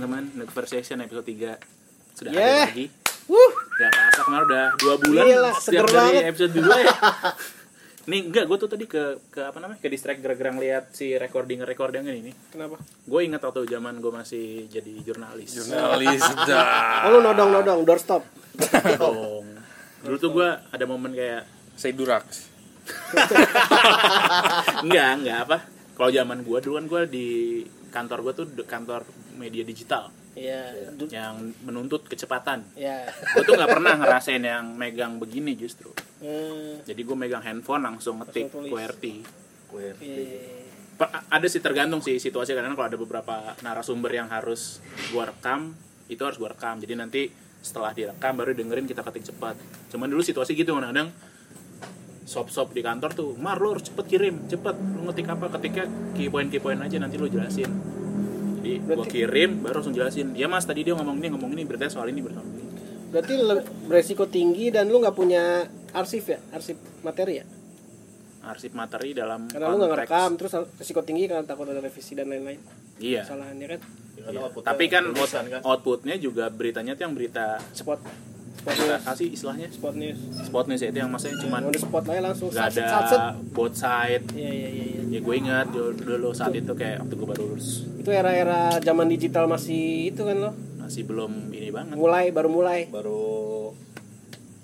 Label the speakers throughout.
Speaker 1: Star Station episode 3 Sudah ada
Speaker 2: Yeah.
Speaker 1: lagi
Speaker 2: Wuh,
Speaker 1: Gak kerasa kemarin udah 2 bulan
Speaker 2: Gila,
Speaker 1: Setiap
Speaker 2: seger
Speaker 1: dari
Speaker 2: banget.
Speaker 1: episode 2 ya Nih enggak, gue tuh tadi ke, ke apa namanya Ke distract gara-gara ngeliat si recording-recording ini
Speaker 2: kenapa?
Speaker 1: Gue ingat waktu zaman gue masih jadi jurnalis
Speaker 3: Jurnalis dah.
Speaker 2: Oh, lu nodong-nodong, doorstop.
Speaker 1: Dong. Dulu tuh gue ada momen kayak
Speaker 3: Saya duraks.
Speaker 1: Enggak, enggak apa Kalau zaman gue dulu kan gue di kantor gue tuh de- kantor media digital
Speaker 2: Iya. du-
Speaker 1: yang menuntut kecepatan
Speaker 2: Iya.
Speaker 1: gue tuh nggak pernah ngerasain yang megang begini justru
Speaker 2: Eh,
Speaker 1: jadi gue megang handphone langsung ngetik
Speaker 2: Langsung tulis.
Speaker 1: QWERTY
Speaker 2: iya.
Speaker 1: Per- a- ada sih tergantung sih situasi karena kalau ada beberapa narasumber yang harus gue rekam itu harus gue rekam jadi nanti setelah direkam baru dengerin kita ketik cepat cuman dulu situasi gitu kadang-kadang sop-sop di kantor tuh mar lo harus cepet kirim cepet lu ngetik apa ketiknya key point key point aja nanti lu jelasin jadi gue
Speaker 2: Berarti-
Speaker 1: kirim baru langsung jelasin ya mas tadi dia ngomong ini ngomong ini berarti soal ini berarti soal ini
Speaker 2: Berarti le- beresiko tinggi dan lu nggak punya arsip ya, arsip materi ya.
Speaker 1: arsip materi dalam
Speaker 2: Karena lu nggak
Speaker 1: konteks-
Speaker 2: ngerekam, terus resiko tinggi karena takut ada revisi dan lain-lain.
Speaker 1: iya
Speaker 2: Kesalahannya kan
Speaker 1: Iya. tapi kan out- outputnya juga beritanya tuh yang berita
Speaker 2: spot spot
Speaker 1: berita
Speaker 2: news,
Speaker 1: apa sih istilahnya
Speaker 2: spot news.
Speaker 1: spot news ya, itu yang maksudnya cuman
Speaker 2: Mau di spot aja langsung
Speaker 1: nggak
Speaker 2: satset, satset.
Speaker 1: ada both side
Speaker 2: Iya, iya, iya, iya.
Speaker 1: ya gue ingat dulu, dulu saat itu kayak waktu gue baru lulus
Speaker 2: Itu era-era zaman digital masih itu kan lo.
Speaker 1: masih belum ini banget
Speaker 2: Mulai baru mulai.
Speaker 4: baru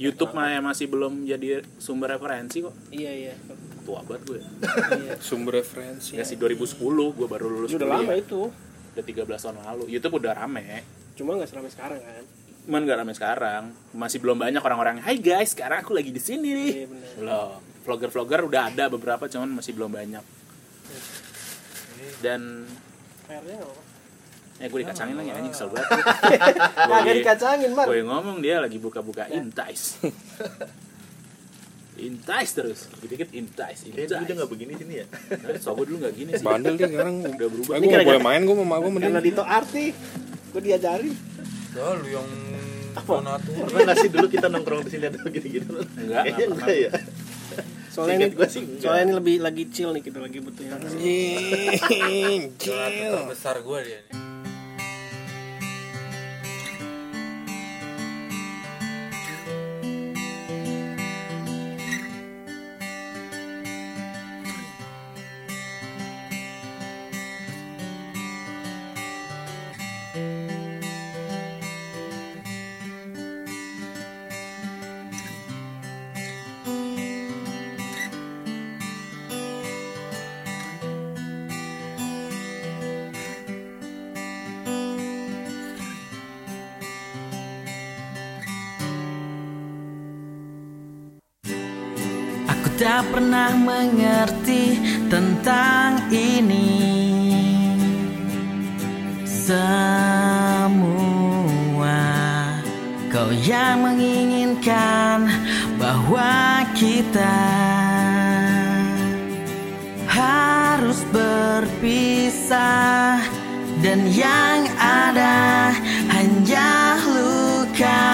Speaker 1: YouTube mah ya masih belum jadi sumber referensi kok
Speaker 2: Iya, iya.
Speaker 1: tua banget gue
Speaker 2: Iya.
Speaker 3: Sumber referensi.
Speaker 1: ya sih 2010 gue baru lulus
Speaker 2: Udah lama
Speaker 1: kuliah.
Speaker 2: ya? itu.
Speaker 1: udah 13 tahun lalu YouTube udah rame
Speaker 2: Cuma nggak seramai sekarang kan.
Speaker 1: cuman gak rame sekarang masih belum banyak orang-orang Hai guys sekarang aku lagi di sini nih
Speaker 2: Iya, benar.
Speaker 1: belum vlogger-vlogger udah ada beberapa cuman masih belum banyak dan
Speaker 2: PR-nya nggak apa-apa.
Speaker 1: eh gue dikacangin lagi anjing kesel banget
Speaker 2: Kagak
Speaker 1: gue
Speaker 2: dikacangin, Nah, Mar.
Speaker 1: gue ngomong dia lagi buka-buka intais intais terus dikit-dikit intais
Speaker 4: kayaknya dulu dia
Speaker 1: intais
Speaker 4: nggak begini sini ya
Speaker 1: so gue dulu gak gini sih
Speaker 3: Bandel dia sekarang
Speaker 1: Udah berubah.
Speaker 3: Eh,
Speaker 1: Ini
Speaker 3: Gue gak
Speaker 1: gara-gara-
Speaker 3: boleh main gue sama gue mending.
Speaker 2: Karena Dito arti. Gue diajarin.
Speaker 3: Ya lu yang donatur.
Speaker 4: pernah nggak sih dulu kita nongkrong di sini ada gini-gini
Speaker 1: Enggak,
Speaker 4: kayaknya
Speaker 1: enggak
Speaker 4: enggak ya
Speaker 2: Soalnya ini,
Speaker 4: Seingat gua sih enggak.
Speaker 2: soalnya ini lebih lagi chill nih kita lagi butuh yang
Speaker 3: Anjing. chill.
Speaker 5: terbesar gue dia nih.
Speaker 6: Aku tak pernah mengerti tentang ini Semua Kau yang menginginkan bahwa kita Harus berpisah Dan yang ada hanya luka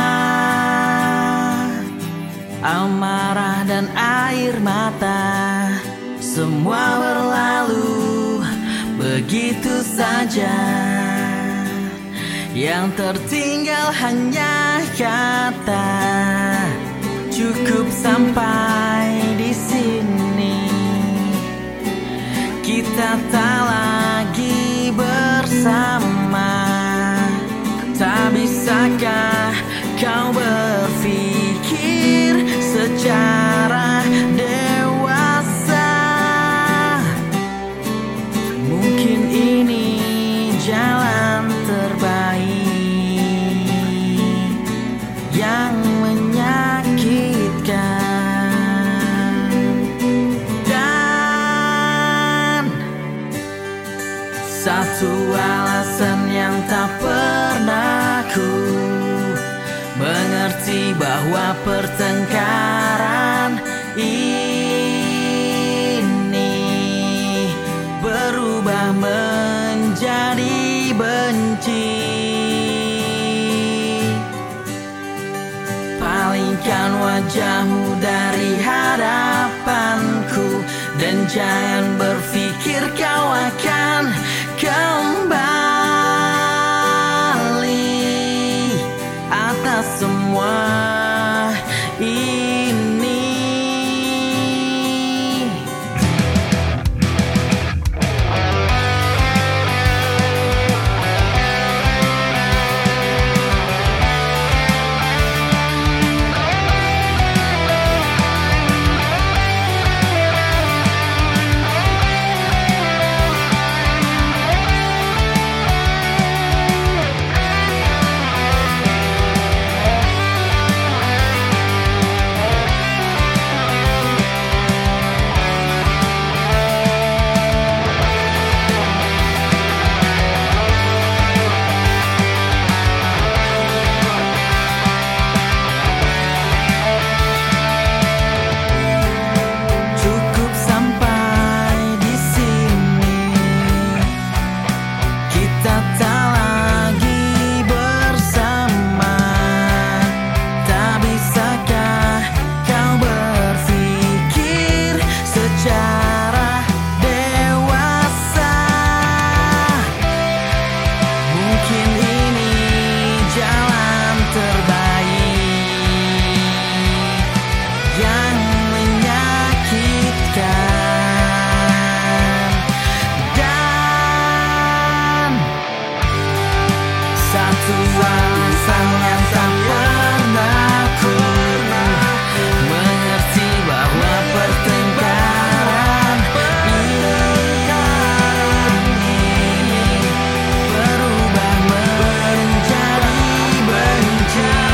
Speaker 6: amarah dan air mata semua berlalu begitu saja yang tertinggal hanya kata cukup sampai di sini kita tak lagi bersama Tak bisakah kau berpikir secara dewasa Mungkin ini jalan terbaik Yang menyakitkan Dan satu alasan yang tak pernah ku mengerti bahwa pertengkaran ini berubah menjadi benci. Palingkan wajahmu dari hadapanku Dan jangan berpikir kau akan kembali semua ini Cukup sampai di sini. Kita tak lagi bersama. Tak bisakah kau berpikir secara dewasa? Mungkin ini jalan terbaik yang menyakitkan dan satu alasan yang tak pernah ku mengerti bahwa pertengkaran ini berubah menjadi benci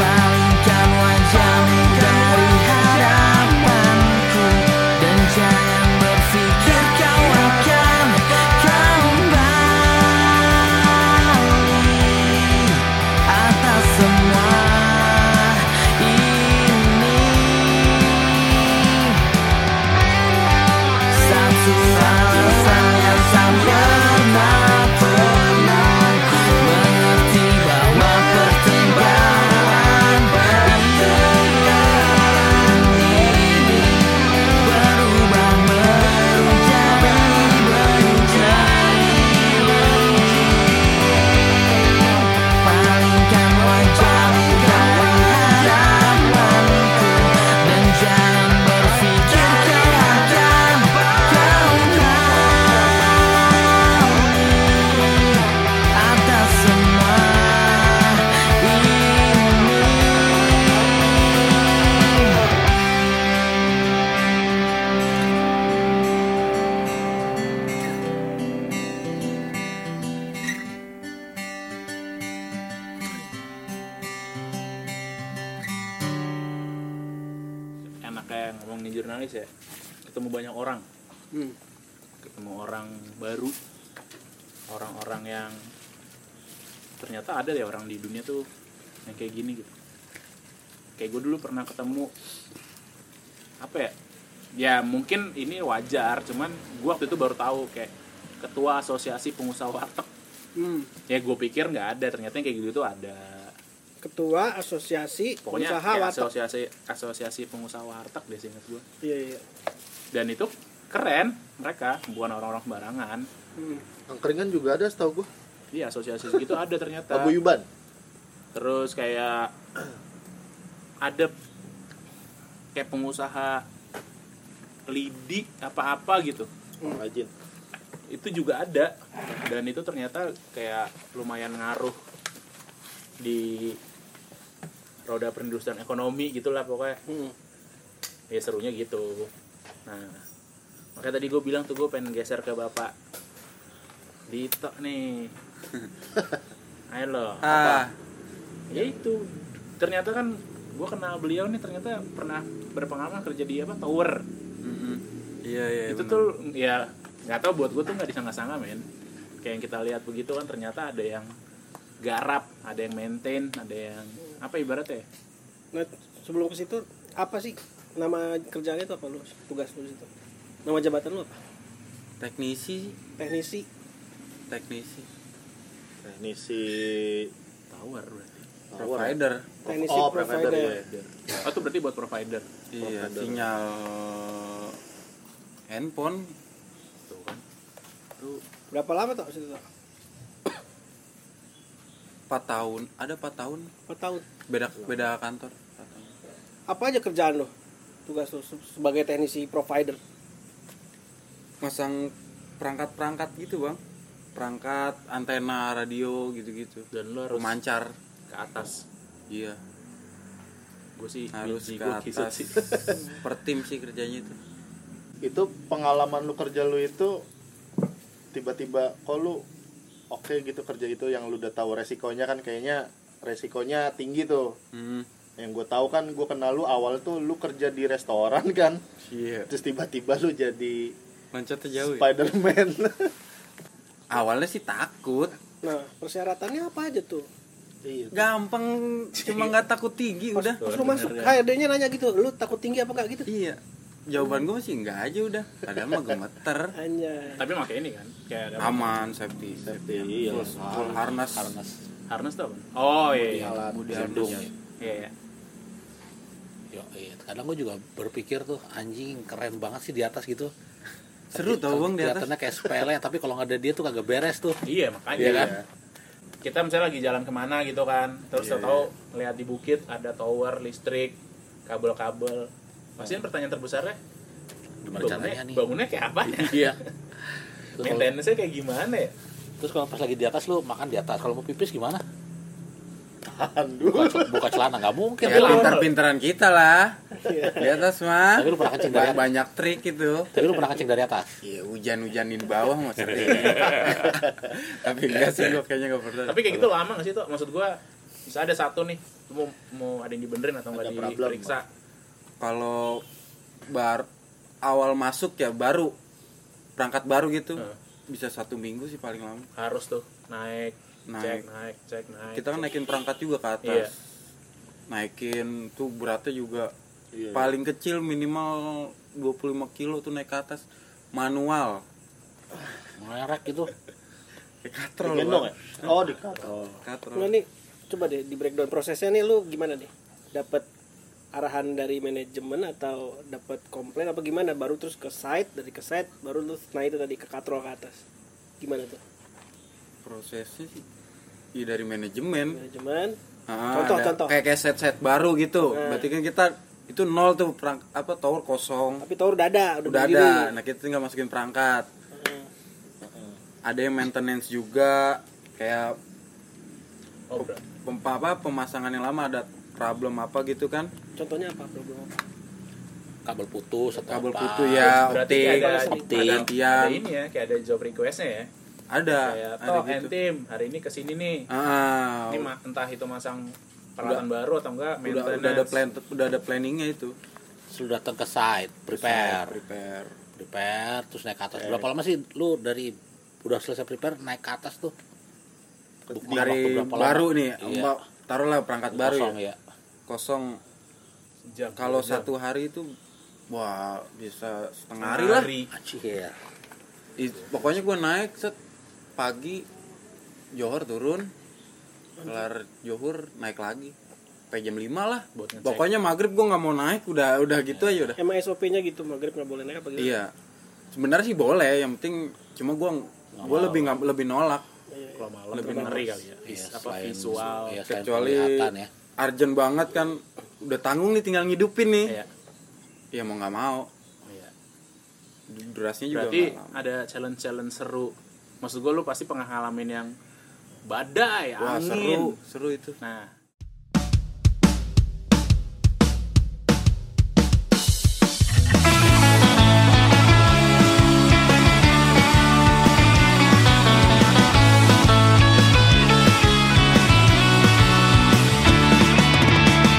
Speaker 6: Palingkan wajahmu dari hadapanku Dan jangan berpikir kau akan kembali Atas semua ini satu alasan yang sama pernah mengerti bahwa pertimbangan ini berubah menjadi benci. Palingkan wajahmu dari hadapanku dan jangan berpikir kau akan kembali atas semua ini.
Speaker 1: enak kayak ngomongin jurnalis ya ketemu banyak orang
Speaker 4: Hmm.
Speaker 1: ketemu orang baru orang-orang yang ternyata ada ya orang di dunia tuh yang kayak gini gitu kayak gue dulu pernah ketemu apa ya ya mungkin ini wajar cuman gue waktu itu baru tahu kayak ketua asosiasi pengusaha warteg
Speaker 2: Hmm.
Speaker 1: ya gue pikir nggak ada ternyata yang kayak gitu tuh ada
Speaker 2: Ketua Asosiasi
Speaker 1: pokoknya
Speaker 2: Pengusaha
Speaker 4: ya,
Speaker 1: kayak
Speaker 2: Warteg.
Speaker 1: asosiasi asosiasi pengusaha warteg deh seingat gue
Speaker 2: Iya, iya.
Speaker 1: dan itu keren mereka bukan orang-orang sembarangan
Speaker 2: Hmm.
Speaker 4: angkringan juga ada setahu gua
Speaker 1: iya asosiasi gitu ada ternyata
Speaker 4: paguyuban
Speaker 1: terus kayak ada kayak pengusaha lidi apa-apa gitu
Speaker 4: rajin
Speaker 1: itu juga ada dan itu ternyata kayak lumayan ngaruh di roda perindustrian ekonomi gitulah pokoknya
Speaker 2: Hmm.
Speaker 1: ya serunya gitu nah makanya tadi gue bilang tuh gue pengen geser ke bapak Dito nih ayo lo
Speaker 5: Ah,
Speaker 1: ya itu ternyata kan gue kenal beliau nih ternyata pernah berpengalaman kerja di apa tower
Speaker 5: mm-mm. iya iya.
Speaker 1: itu
Speaker 5: bener.
Speaker 1: tuh ya nggak tahu buat gue tuh nggak disangka-sangka men kayak yang kita lihat begitu kan ternyata ada yang garap ada yang maintain ada yang apa ibaratnya ya?
Speaker 2: Nah, sebelum ke situ apa sih nama kerjanya itu apa lu? Tugas lu di situ. Nama jabatan lu apa?
Speaker 5: teknisi,
Speaker 2: Teknisi.
Speaker 5: teknisi,
Speaker 4: nah, ini si
Speaker 1: tower berarti
Speaker 5: provider.
Speaker 2: Teknisi
Speaker 4: oh,
Speaker 2: provider.
Speaker 4: provider, ya.
Speaker 1: oh itu berarti buat provider
Speaker 5: Iya,
Speaker 4: Provider.
Speaker 5: sinyal handphone
Speaker 1: tuh kan Lu
Speaker 2: Berapa lama tuh di situ? Tuh?
Speaker 5: 4 tahun ada 4 tahun
Speaker 2: Empat tahun.
Speaker 5: beda beda kantor Empat tahun.
Speaker 2: Apa aja kerjaan lo? Tugas lo se- sebagai teknisi provider.
Speaker 5: masang perangkat-perangkat gitu bang perangkat antena radio gitu-gitu
Speaker 1: dan lo harus
Speaker 5: pemancar
Speaker 1: ke atas
Speaker 5: iya
Speaker 1: gue sih
Speaker 5: harus
Speaker 1: biji
Speaker 5: ke
Speaker 1: gua kisut
Speaker 5: atas
Speaker 1: sih
Speaker 5: per tim sih kerjanya itu
Speaker 4: itu pengalaman lu kerja lu itu tiba-tiba kok lu oke gitu kerja itu yang lu udah tahu resikonya kan kayaknya resikonya tinggi tuh
Speaker 5: hmm.
Speaker 4: yang gue tahu kan gue kenal lu awal tuh lu kerja di restoran kan
Speaker 5: iya
Speaker 4: terus tiba-tiba lu jadi
Speaker 5: loncatnya jauh ya?
Speaker 4: Spiderman
Speaker 5: awalnya sih takut
Speaker 2: Nah, persyaratannya apa aja tuh?
Speaker 4: iya
Speaker 5: gampang cuma nggak takut tinggi udah
Speaker 2: Terus lu masuk HRD-nya nanya gitu, lu takut tinggi apa enggak gitu?
Speaker 5: iya jawaban gue masih enggak aja udah padahal mah gemeter
Speaker 2: Anjay.
Speaker 1: tapi pakai ini kan kayak ada
Speaker 5: aman safety
Speaker 4: safety iya
Speaker 5: full harness
Speaker 6: harness
Speaker 1: harness tau kan oh iya iya.
Speaker 4: alat
Speaker 5: budi handuk
Speaker 1: iya iya.
Speaker 6: Yo, iya. kadang gue juga berpikir tuh anjing keren banget sih di atas gitu
Speaker 5: seru
Speaker 6: Tapi
Speaker 5: tau
Speaker 6: kalau
Speaker 5: bang di atas
Speaker 6: kelihatannya kayak sepele tapi kalau nggak ada dia tuh kagak beres tuh
Speaker 1: iya makanya
Speaker 6: Iya
Speaker 1: kan kita misalnya lagi jalan kemana gitu kan terus
Speaker 5: Iya,
Speaker 1: tahu ngeliat di bukit ada tower listrik kabel-kabel pasti yang pertanyaan terbesarnya
Speaker 6: gimana caranya
Speaker 1: bangunnya,
Speaker 6: nih
Speaker 1: bangunnya kayak apa ya
Speaker 6: iya terus kalau,
Speaker 1: maintenance-nya kayak gimana ya
Speaker 6: terus kalau pas lagi di atas lu makan di atas kalau mau pipis gimana
Speaker 4: tahan
Speaker 6: buka,
Speaker 4: dulu
Speaker 6: buka celana nggak mungkin
Speaker 5: ya
Speaker 6: lu.
Speaker 5: pintar-pintaran kita lah di atas mah
Speaker 6: tapi lu pernah kencing dari
Speaker 5: banyak, banyak trik itu
Speaker 6: tapi lu pernah kencing dari atas
Speaker 5: Iya hujan-hujanin bawah maksudnya Tapi enggak sih gue kayaknya gak pernah
Speaker 1: tapi kayak gitu lama gak sih tuh maksud gua bisa ada satu nih lu mau, mau ada yang dibenerin atau nggak
Speaker 4: Ada problem.
Speaker 1: diperiksa
Speaker 5: Kalau bar awal masuk ya baru Perangkat baru gitu
Speaker 1: Heeh.
Speaker 5: Bisa satu minggu sih paling
Speaker 1: Eh,
Speaker 5: lama
Speaker 4: Nah,
Speaker 1: harus tuh naik, cek
Speaker 5: Naik
Speaker 1: naik cek naik
Speaker 5: Kita kan naikin perangkat juga ke atas
Speaker 1: Iya.
Speaker 5: Naikin tuh beratnya juga
Speaker 4: Iya.
Speaker 5: Paling kecil minimal 25 kilo tuh naik ke atas Manual
Speaker 6: merek gitu
Speaker 5: Kayak katrol
Speaker 4: digendong ya
Speaker 5: Bang.
Speaker 4: oh dikatrol
Speaker 5: Katrol
Speaker 2: Nah nih, coba deh di breakdown prosesnya nih lu gimana nih? Dapat arahan dari manajemen atau dapat komplain apa gimana baru terus ke site dari ke site baru lu nah itu tadi ke katrol ke atas gimana tuh
Speaker 5: Prosesnya sih Iya dari manajemen
Speaker 2: manajemen
Speaker 5: Ah,
Speaker 2: Contoh,
Speaker 5: ada
Speaker 2: contoh.
Speaker 5: Kayak kayak set-set baru gitu.
Speaker 2: Nah.
Speaker 5: Berarti kan kita itu nol tuh perang apa tower kosong.
Speaker 2: tapi tower udah ada udah,
Speaker 5: Udah
Speaker 2: berdiri. Nah,
Speaker 5: ada. Nah, kita tinggal masukin perangkat.
Speaker 2: Heeh.
Speaker 5: Ada yang maintenance juga kayak
Speaker 1: oh, bro.
Speaker 5: pem- apa pemasangan yang lama ada problem apa gitu kan.
Speaker 2: contohnya apa problem apa?
Speaker 6: kabel putus atau
Speaker 5: Kabel
Speaker 6: apa.
Speaker 5: putu ya,
Speaker 1: berarti
Speaker 5: optik,
Speaker 1: kayak ada,
Speaker 6: optik.
Speaker 1: ada, ada
Speaker 5: gantian.
Speaker 1: ini ya kayak ada job requestnya ya
Speaker 5: Ada,
Speaker 6: Nah,
Speaker 1: kayak
Speaker 5: ada
Speaker 1: toh
Speaker 5: gitu.
Speaker 1: entim hari ini kesini nih
Speaker 5: Ah,
Speaker 1: ini ma- entah itu masang peralatan baru atau enggak
Speaker 5: udah,
Speaker 1: maintenance
Speaker 5: udah ada plan udah ada planningnya itu.
Speaker 6: Terus lu datang ke site prepare
Speaker 5: Prepare.
Speaker 6: prepare terus naik ke atas berapa lama sih lu dari udah selesai prepare naik ke atas tuh Bukan waktu
Speaker 5: Dari
Speaker 6: berapa lama.
Speaker 5: baru nih,
Speaker 6: Iya.
Speaker 5: mbak taruhlah perangkat baru
Speaker 6: kosong
Speaker 5: ya.
Speaker 3: Iya.
Speaker 6: ya
Speaker 5: Kosong
Speaker 1: Jam,
Speaker 5: Kalau
Speaker 1: jam.
Speaker 5: satu hari itu wah bisa setengah hari
Speaker 1: hari
Speaker 5: lah.
Speaker 6: Anjir.
Speaker 5: I- pokoknya gue naik set pagi Johor turun kelar Johor naik lagi sampai jam 5 lah
Speaker 1: Buat ngecek. Iya.
Speaker 5: pokoknya maghrib gue nggak mau naik udah udah gitu aja udah
Speaker 2: emang SOP-nya gitu maghrib nggak boleh naik apa gitu
Speaker 5: iya sebenarnya sih boleh yang penting cuma gue gue lebih nggak lebih nolak
Speaker 1: kalau malam
Speaker 5: Lebih
Speaker 1: lebih ngeri kali ya
Speaker 6: Iya,
Speaker 1: Vis- apa
Speaker 6: selain-
Speaker 1: visual
Speaker 6: iya, selain
Speaker 5: kecuali
Speaker 6: penglihatan ya.
Speaker 5: urgent banget kan udah tanggung nih tinggal ngidupin nih
Speaker 1: Iya,
Speaker 5: ya mau nggak mau
Speaker 1: iya.
Speaker 5: durasinya juga
Speaker 1: berarti
Speaker 5: nggak lama.
Speaker 1: ada challenge challenge seru maksud gue lu pasti pernah ngalamin yang badai
Speaker 5: wah seru
Speaker 1: angin
Speaker 5: seru itu
Speaker 1: nah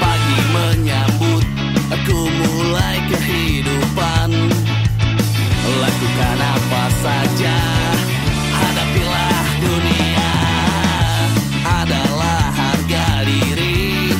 Speaker 3: Pagi menyambut, aku mulai kehidupan Lakukan apa saja, hadapilah dunia Adalah harga diri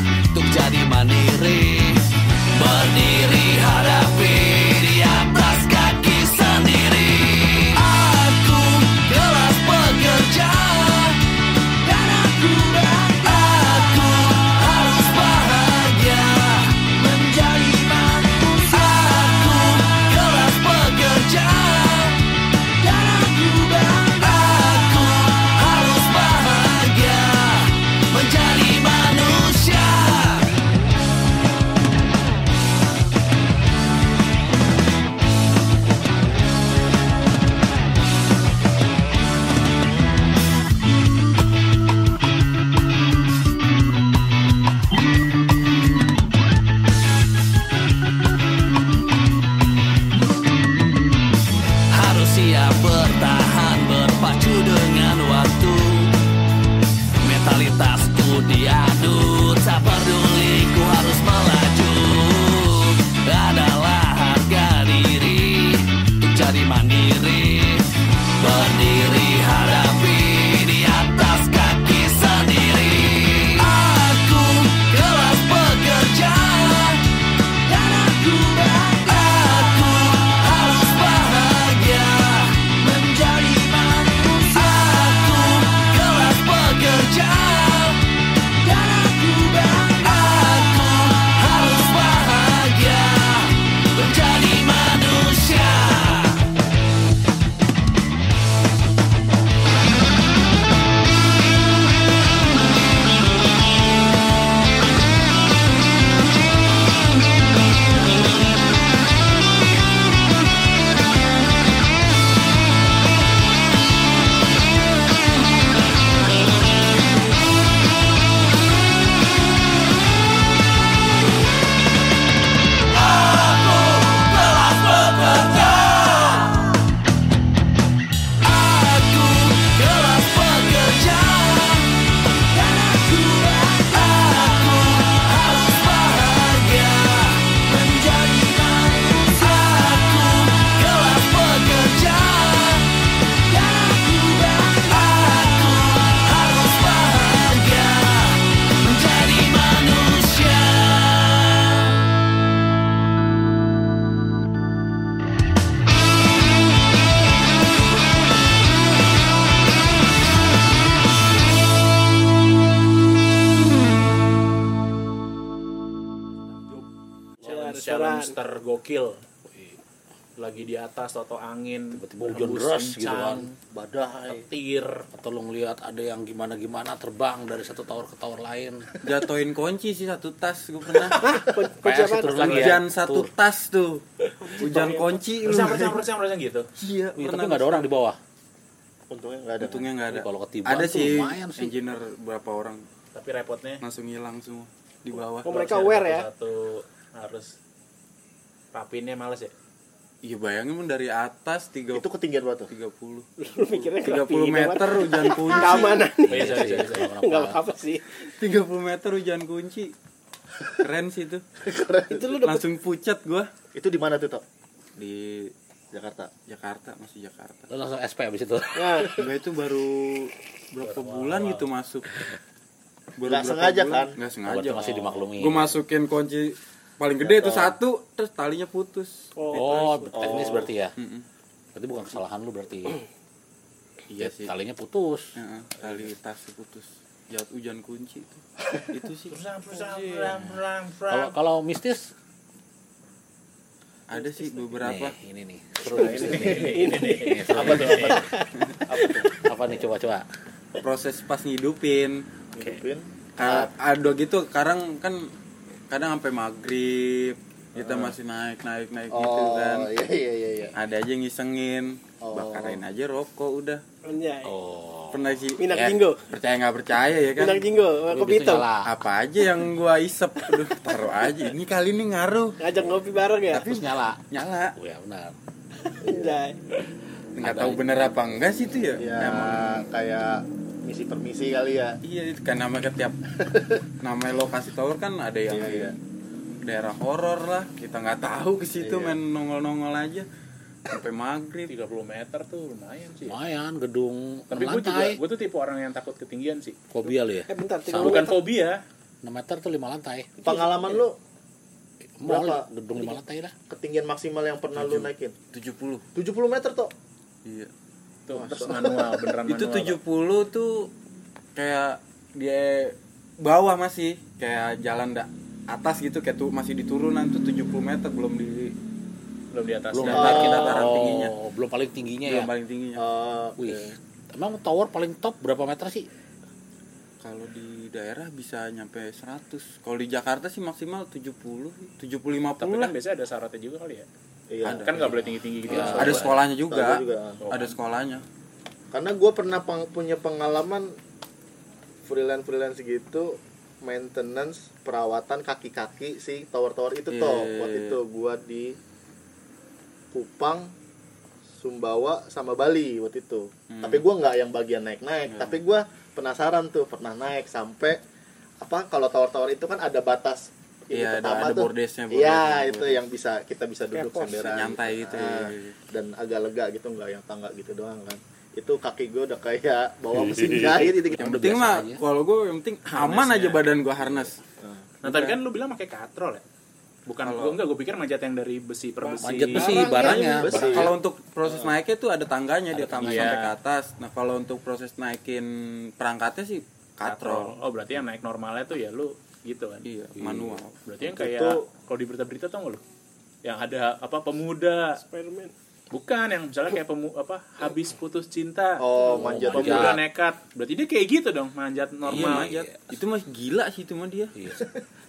Speaker 2: bocoran.
Speaker 1: challenge tergokil lagi di atas atau angin
Speaker 6: tiba-tiba hujan
Speaker 1: berhembus
Speaker 6: deras gitu
Speaker 1: kencang,
Speaker 6: kan badai
Speaker 1: petir
Speaker 6: atau lo ngelihat ada yang gimana gimana terbang dari satu tower ke tower lain
Speaker 5: Jatoin kunci sih satu tas gue pernah.
Speaker 2: Kun- kunci
Speaker 6: PS
Speaker 2: apa?
Speaker 5: Iya,
Speaker 6: itu lagi ya
Speaker 5: Hujan satu tas tuh. Hujan kunci lu.
Speaker 1: persen persen persen persen gitu
Speaker 5: Iya,
Speaker 6: Iya, tapi
Speaker 5: pernah.
Speaker 6: nggak ada orang di bawah
Speaker 4: untungnya nggak ada
Speaker 5: Untungnya nggak ada.
Speaker 6: Kalau ketiban
Speaker 5: ada
Speaker 6: tuh
Speaker 5: sih,
Speaker 6: lumayan sih.
Speaker 5: engineer berapa orang
Speaker 1: tapi repotnya
Speaker 5: langsung hilang semua di bawah.
Speaker 2: Oh, mereka
Speaker 1: harusnya
Speaker 2: aware ya.
Speaker 1: satu harus rapinnya males ya
Speaker 6: Oh,
Speaker 5: Iya bayangin mun dari atas tiga
Speaker 4: itu ketinggian batu
Speaker 5: 30
Speaker 2: Lu mikirnya
Speaker 5: 30
Speaker 2: rapi,
Speaker 5: meter
Speaker 2: Damar.
Speaker 5: hujan kunci.
Speaker 2: keamanan
Speaker 1: oh, iya, sorry, sorry, sorry.
Speaker 2: nggak apa-apa sih
Speaker 5: 30 meter hujan kunci. Keren sih itu.
Speaker 2: itu lu dapet
Speaker 5: Langsung pucat gua
Speaker 4: itu di mana tuh Tok?
Speaker 5: di
Speaker 4: Jakarta
Speaker 5: Jakarta, masih Jakarta. Ya,
Speaker 6: lo langsung SP abis itu
Speaker 2: nah,
Speaker 5: Enggak itu baru berapa bulan gitu masuk. Baru
Speaker 4: Nggak
Speaker 5: berapa
Speaker 4: sengaja,
Speaker 5: bulan.
Speaker 4: kan?
Speaker 5: Nggak
Speaker 6: Obat
Speaker 5: sengaja.
Speaker 6: tuh masih dimaklumi
Speaker 5: Gue masukin kunci paling gede itu satu, terus talinya putus.
Speaker 6: oh teknis berarti ya
Speaker 5: Mm-mm.
Speaker 6: berarti bukan kesalahan lu berarti
Speaker 5: Iya sih.
Speaker 6: talinya putus
Speaker 5: Heeh, tali tas putus. Jat hujan kunci itu. itu sih
Speaker 6: kalau kalau mistis
Speaker 5: ada sih beberapa.
Speaker 6: nih, ini nih seru
Speaker 1: Nah,
Speaker 6: nih, mistis nih. ini nih seru nih. apa tuh apa nih coba coba
Speaker 5: Proses pas ngidupin.
Speaker 4: Hidupin.
Speaker 5: Ka-
Speaker 4: Ah.
Speaker 5: Ada gitu, sekarang kan kadang sampai maghrib kita masih naik naik naik gitu
Speaker 4: oh
Speaker 5: kan.
Speaker 4: iya iya iya iya
Speaker 5: Ada aja yang ngisengin,
Speaker 4: Oh.
Speaker 5: bakarin aja rokok udah.
Speaker 2: anjay
Speaker 6: oh
Speaker 5: pernah sih
Speaker 2: Minang
Speaker 5: ya,
Speaker 2: Jinggo.
Speaker 5: percaya nggak percaya ya kan Ah.
Speaker 2: bilang jinggo kopi
Speaker 3: gitu?
Speaker 6: Lu bisa
Speaker 2: hitam
Speaker 6: nyala.
Speaker 5: apa aja yang gua isep aduh taruh aja ini kali ini ngaruh
Speaker 2: ngajak ngopi bareng ya
Speaker 6: terus nyala
Speaker 5: nyala
Speaker 6: oh ya benar
Speaker 2: anjay
Speaker 5: nggak tahu bener apa enggak sih itu ya
Speaker 4: ya
Speaker 5: Emang-
Speaker 4: kayak misi permisi kali ya
Speaker 5: iya itu kan nama tiap nama lokasi tower kan ada yang
Speaker 4: Iya, iya.
Speaker 5: daerah horor lah kita nggak tahu ke situ
Speaker 4: Iya.
Speaker 5: main nongol-nongol aja sampai maghrib
Speaker 1: 30 meter tuh lumayan sih ya.
Speaker 6: lumayan gedung
Speaker 1: tapi gue juga
Speaker 6: lantai
Speaker 1: gue tuh tipe orang yang takut ketinggian sih
Speaker 6: fobia lu ya
Speaker 2: eh bentar tiga
Speaker 6: Sama.
Speaker 1: bukan
Speaker 2: bukan
Speaker 1: fobia
Speaker 6: 6 meter tuh 5 lantai
Speaker 4: pengalaman lu
Speaker 6: Mall,
Speaker 4: Berapa?
Speaker 6: gedung 5 lantai lah
Speaker 4: ketinggian maksimal yang pernah lu naikin
Speaker 5: 70
Speaker 4: 70 meter tuh
Speaker 5: iya
Speaker 1: tuh terus manual beneran
Speaker 5: itu
Speaker 1: manual
Speaker 5: 70 tuh kayak dia bawah masih kayak jalan da atas gitu kayak tuh masih di turunan tuh 70 meter belum di
Speaker 1: belum di atas
Speaker 6: belum
Speaker 1: Dan-
Speaker 5: datar kita dataran
Speaker 6: oh,
Speaker 5: tingginya
Speaker 6: belum paling tingginya
Speaker 5: belum
Speaker 6: ya
Speaker 5: paling tingginya
Speaker 4: Eh,
Speaker 6: Wih, emang tower paling top berapa meter sih?
Speaker 5: kalau di daerah bisa nyampe 100 kalau di Jakarta sih maksimal 70 75
Speaker 1: tapi
Speaker 5: lah
Speaker 1: kan biasanya ada syaratnya juga kali ya
Speaker 4: iya
Speaker 5: Ada.
Speaker 1: kan nggak boleh tinggi tinggi gitu ya.
Speaker 5: Iya,
Speaker 6: Iya.
Speaker 5: ada sekolahnya juga
Speaker 4: Ada juga.
Speaker 5: ada sekolahnya
Speaker 4: karena gue pernah peng- punya pengalaman freelance freelance gitu maintenance perawatan kaki-kaki si tower-tower itu
Speaker 5: Iya,
Speaker 4: toh
Speaker 5: iya,
Speaker 4: waktu
Speaker 5: iya.
Speaker 4: itu gue di Kupang Sumbawa sama Bali waktu itu
Speaker 5: Hmm.
Speaker 4: tapi gue nggak yang bagian naik-naik tapi gue penasaran tuh pernah naik sampai apa kalau tower-tower itu kan ada batas ini
Speaker 5: Iya, ada-
Speaker 4: pertama
Speaker 5: ada bordesnya,
Speaker 4: iya
Speaker 5: bordesnya,
Speaker 4: itu
Speaker 5: bordes.
Speaker 4: yang bisa kita bisa duduk
Speaker 2: Kayak pos.
Speaker 4: sendirian
Speaker 5: nyantai gitu ya.
Speaker 4: Ah, dan agak lega gitu nggak yang tangga gitu doang kan itu kaki gue udah kayak bawa mesin jahit gitu. itu
Speaker 5: yang
Speaker 6: Udah
Speaker 5: penting
Speaker 6: biasa
Speaker 5: mah
Speaker 6: aja.
Speaker 5: kalau gue yang penting aman aja
Speaker 6: ya.
Speaker 5: badan gue harness
Speaker 1: nah tadi kan lu bilang pakai katrol ya bukan
Speaker 5: Kalau-
Speaker 1: gua enggak gue pikir manjat yang dari besi per besi
Speaker 6: Manjat besi
Speaker 4: Barangnya,
Speaker 6: barangnya.
Speaker 4: besi.
Speaker 6: barang-
Speaker 5: Kalau untuk proses naiknya tuh ada tangganya dia tambah
Speaker 1: tangganya.
Speaker 5: sampai ke atas. Nah, kalau untuk proses naikin perangkatnya sih
Speaker 1: katrol
Speaker 5: katrol.
Speaker 1: oh berarti yang naik normalnya tuh ya lu gitu kan
Speaker 5: Iya, manual.
Speaker 1: berarti yang kayak kalau di berita-berita tau nggak lu yang ada apa pemuda
Speaker 2: Spiderman
Speaker 1: bukan yang misalnya kayak pemu apa habis putus cinta
Speaker 4: oh manjat
Speaker 6: manjat.
Speaker 5: Kan?
Speaker 1: pemuda nekat berarti dia kayak gitu dong manjat
Speaker 5: Iya,
Speaker 1: normal
Speaker 5: manjat. Itu mah gila sih itu mah dia.
Speaker 6: Iya.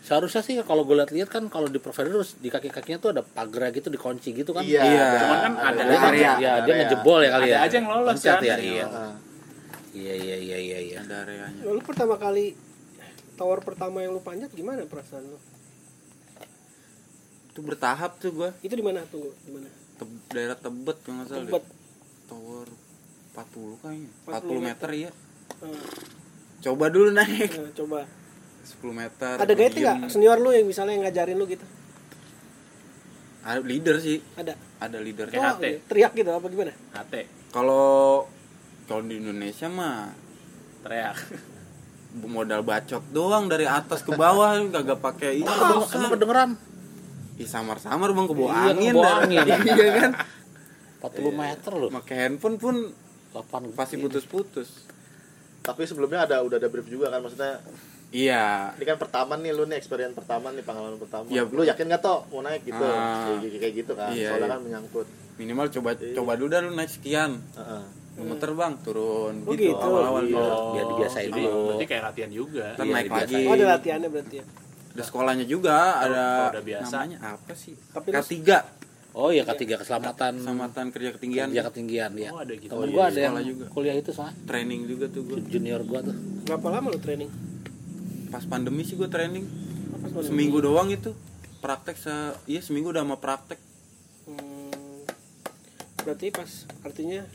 Speaker 6: Seharusnya sih kalau gue lihat-lihat kan kalau di provider terus di kaki-kakinya tuh ada pagar gitu dikunci gitu kan.
Speaker 4: iya
Speaker 5: Iya.
Speaker 1: cuman kan ada
Speaker 6: Dia kan-
Speaker 4: Area,
Speaker 6: ya, dia
Speaker 4: area.
Speaker 6: ngejebol ya kali
Speaker 1: Ada
Speaker 6: ya.
Speaker 1: aja yang lolos
Speaker 6: Loncat
Speaker 1: kan.
Speaker 6: ya, iya.
Speaker 4: Ah,
Speaker 6: Iya iya iya iya iya.
Speaker 5: Ada areanya.
Speaker 2: Ya, lu pertama kali tower pertama yang lu panjat gimana perasaan lu
Speaker 5: Itu bertahap tuh gua.
Speaker 2: itu di mana tunggu di mana
Speaker 5: Te- daerah Tebet kalau nggak salah.
Speaker 2: Tebet.
Speaker 5: deh. Tower 40 kayaknya.
Speaker 2: 40
Speaker 5: 40
Speaker 2: meter.
Speaker 5: meter ya.
Speaker 2: Nah,
Speaker 5: Coba dulu naik
Speaker 2: nah, coba
Speaker 5: 10 meter.
Speaker 2: ada guide
Speaker 5: diem.
Speaker 2: nggak senior lu yang misalnya yang ngajarin lu gitu
Speaker 5: Ada ah, leader sih.
Speaker 2: ada
Speaker 5: Ada leadernya.
Speaker 1: Kayak
Speaker 2: oh,
Speaker 1: HT.
Speaker 2: teriak gitu apa gimana
Speaker 1: HT
Speaker 5: Kalau kalau di Indonesia mah
Speaker 1: teriak
Speaker 5: modal bacot doang dari atas ke bawah kagak pakai ini
Speaker 6: Emang emang kedengeran
Speaker 5: Ih samar-samar bang ke bawah
Speaker 6: Iya,
Speaker 5: angin
Speaker 6: ke bawah
Speaker 5: dah.
Speaker 6: angin.
Speaker 5: Iya kan
Speaker 6: 40 meter loh.
Speaker 5: Pakai handphone pun
Speaker 6: 8
Speaker 5: pasti putus-putus
Speaker 4: tapi sebelumnya ada udah ada brief juga kan maksudnya
Speaker 5: iya
Speaker 4: Ini kan pertama nih lu nih experience pertama nih pengalaman pertama.
Speaker 5: Iya.
Speaker 4: Lu yakin gak toh mau naik gitu?
Speaker 5: Ah.
Speaker 4: Kayak, kayak gitu kan.
Speaker 5: Iya,
Speaker 4: Soalnya
Speaker 5: iya.
Speaker 4: kan menyangkut.
Speaker 5: minimal coba coba dulu dah lu naik sekian
Speaker 4: Heeh.
Speaker 5: muter bang turun
Speaker 2: Oh,
Speaker 5: gitu
Speaker 2: gitu.
Speaker 5: awal-awal
Speaker 4: Iya.
Speaker 5: gitu.
Speaker 6: biar dibiasain
Speaker 1: Jadi
Speaker 6: dulu.
Speaker 1: berarti kayak latihan juga.
Speaker 5: Ntar
Speaker 6: Iya,
Speaker 5: naik
Speaker 6: dibiasain.
Speaker 5: lagi
Speaker 2: Oh, ada latihannya berarti ya.
Speaker 5: ada sekolahnya juga
Speaker 1: Kalau
Speaker 5: ada
Speaker 1: udah biasa.
Speaker 5: namanya apa sih
Speaker 2: Tapi lu-
Speaker 5: K3
Speaker 6: Oh iya ketiga keselamatan
Speaker 5: keselamatan kerja ketinggian
Speaker 6: kerja ketinggian ya.
Speaker 1: Oh, ada gitu.
Speaker 6: Temen
Speaker 1: Oh, iya,
Speaker 6: gua
Speaker 1: di
Speaker 6: ada yang
Speaker 5: sekolah juga.
Speaker 6: kuliah itu soalnya
Speaker 5: training juga tuh gue
Speaker 6: junior gua tuh.
Speaker 2: Berapa lama lu training?
Speaker 5: pas pandemi sih gue training
Speaker 2: Apa sebenarnya?
Speaker 5: seminggu doang itu praktek se iya seminggu udah mau praktek
Speaker 2: Hmm, berarti pas artinya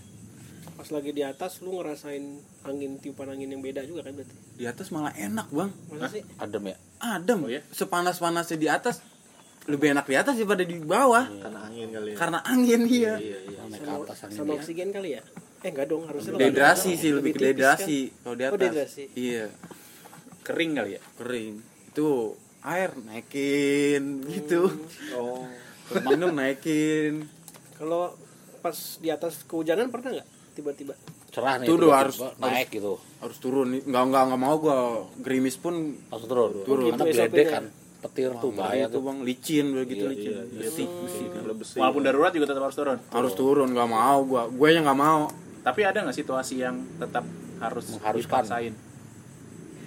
Speaker 2: pas lagi di atas lu ngerasain angin tiupan angin yang beda juga kan berarti.
Speaker 5: di atas malah enak bang
Speaker 2: Masa sih?
Speaker 6: Adem ya.
Speaker 5: adem
Speaker 1: Oh, iya?
Speaker 5: sepanas panasnya di atas lebih enak di atas daripada di bawah
Speaker 4: Karena angin kali ya.
Speaker 5: karena angin iya
Speaker 6: Nah, naik ke
Speaker 2: Sama,
Speaker 6: atas angin
Speaker 2: sama
Speaker 6: dia.
Speaker 2: oksigen kali ya? Eh enggak dong, harusnya kalau
Speaker 5: dehidrasi
Speaker 2: ada-
Speaker 5: sih lebih ke
Speaker 2: tipis
Speaker 5: dehidrasi
Speaker 2: kan?
Speaker 5: kalau di
Speaker 2: Oh,
Speaker 5: atas
Speaker 2: dehidrasi.
Speaker 5: iya
Speaker 1: Kering kali ya.
Speaker 5: kering itu air naikin gitu
Speaker 4: Oh.
Speaker 5: minum naikin
Speaker 2: Kalau pas di atas kehujanan pernah nggak tiba-tiba?
Speaker 6: Cerah nih.
Speaker 5: Tuh
Speaker 6: tiba-tiba
Speaker 5: dulu harus-
Speaker 6: naik gitu.
Speaker 5: harus turun nggak nggak nggak mau gue gerimis pun
Speaker 6: Langsung turun.
Speaker 5: Turun.
Speaker 6: Karena
Speaker 2: Gitu
Speaker 6: geledek
Speaker 2: SOP-nya.
Speaker 6: kan. Petir tuh
Speaker 5: Wah,
Speaker 6: bahaya
Speaker 5: bahaya
Speaker 6: ya tuh.
Speaker 5: tuh bang licin begitu
Speaker 6: Iya,
Speaker 5: licin Bersih, bersih.
Speaker 4: Lebih
Speaker 1: Walaupun darurat juga tetap harus turun.
Speaker 5: harus turun nggak mau gue gue yang nggak mau
Speaker 1: Tapi ada nggak situasi yang tetap harus
Speaker 6: Mengharuskan.
Speaker 1: dipaksain?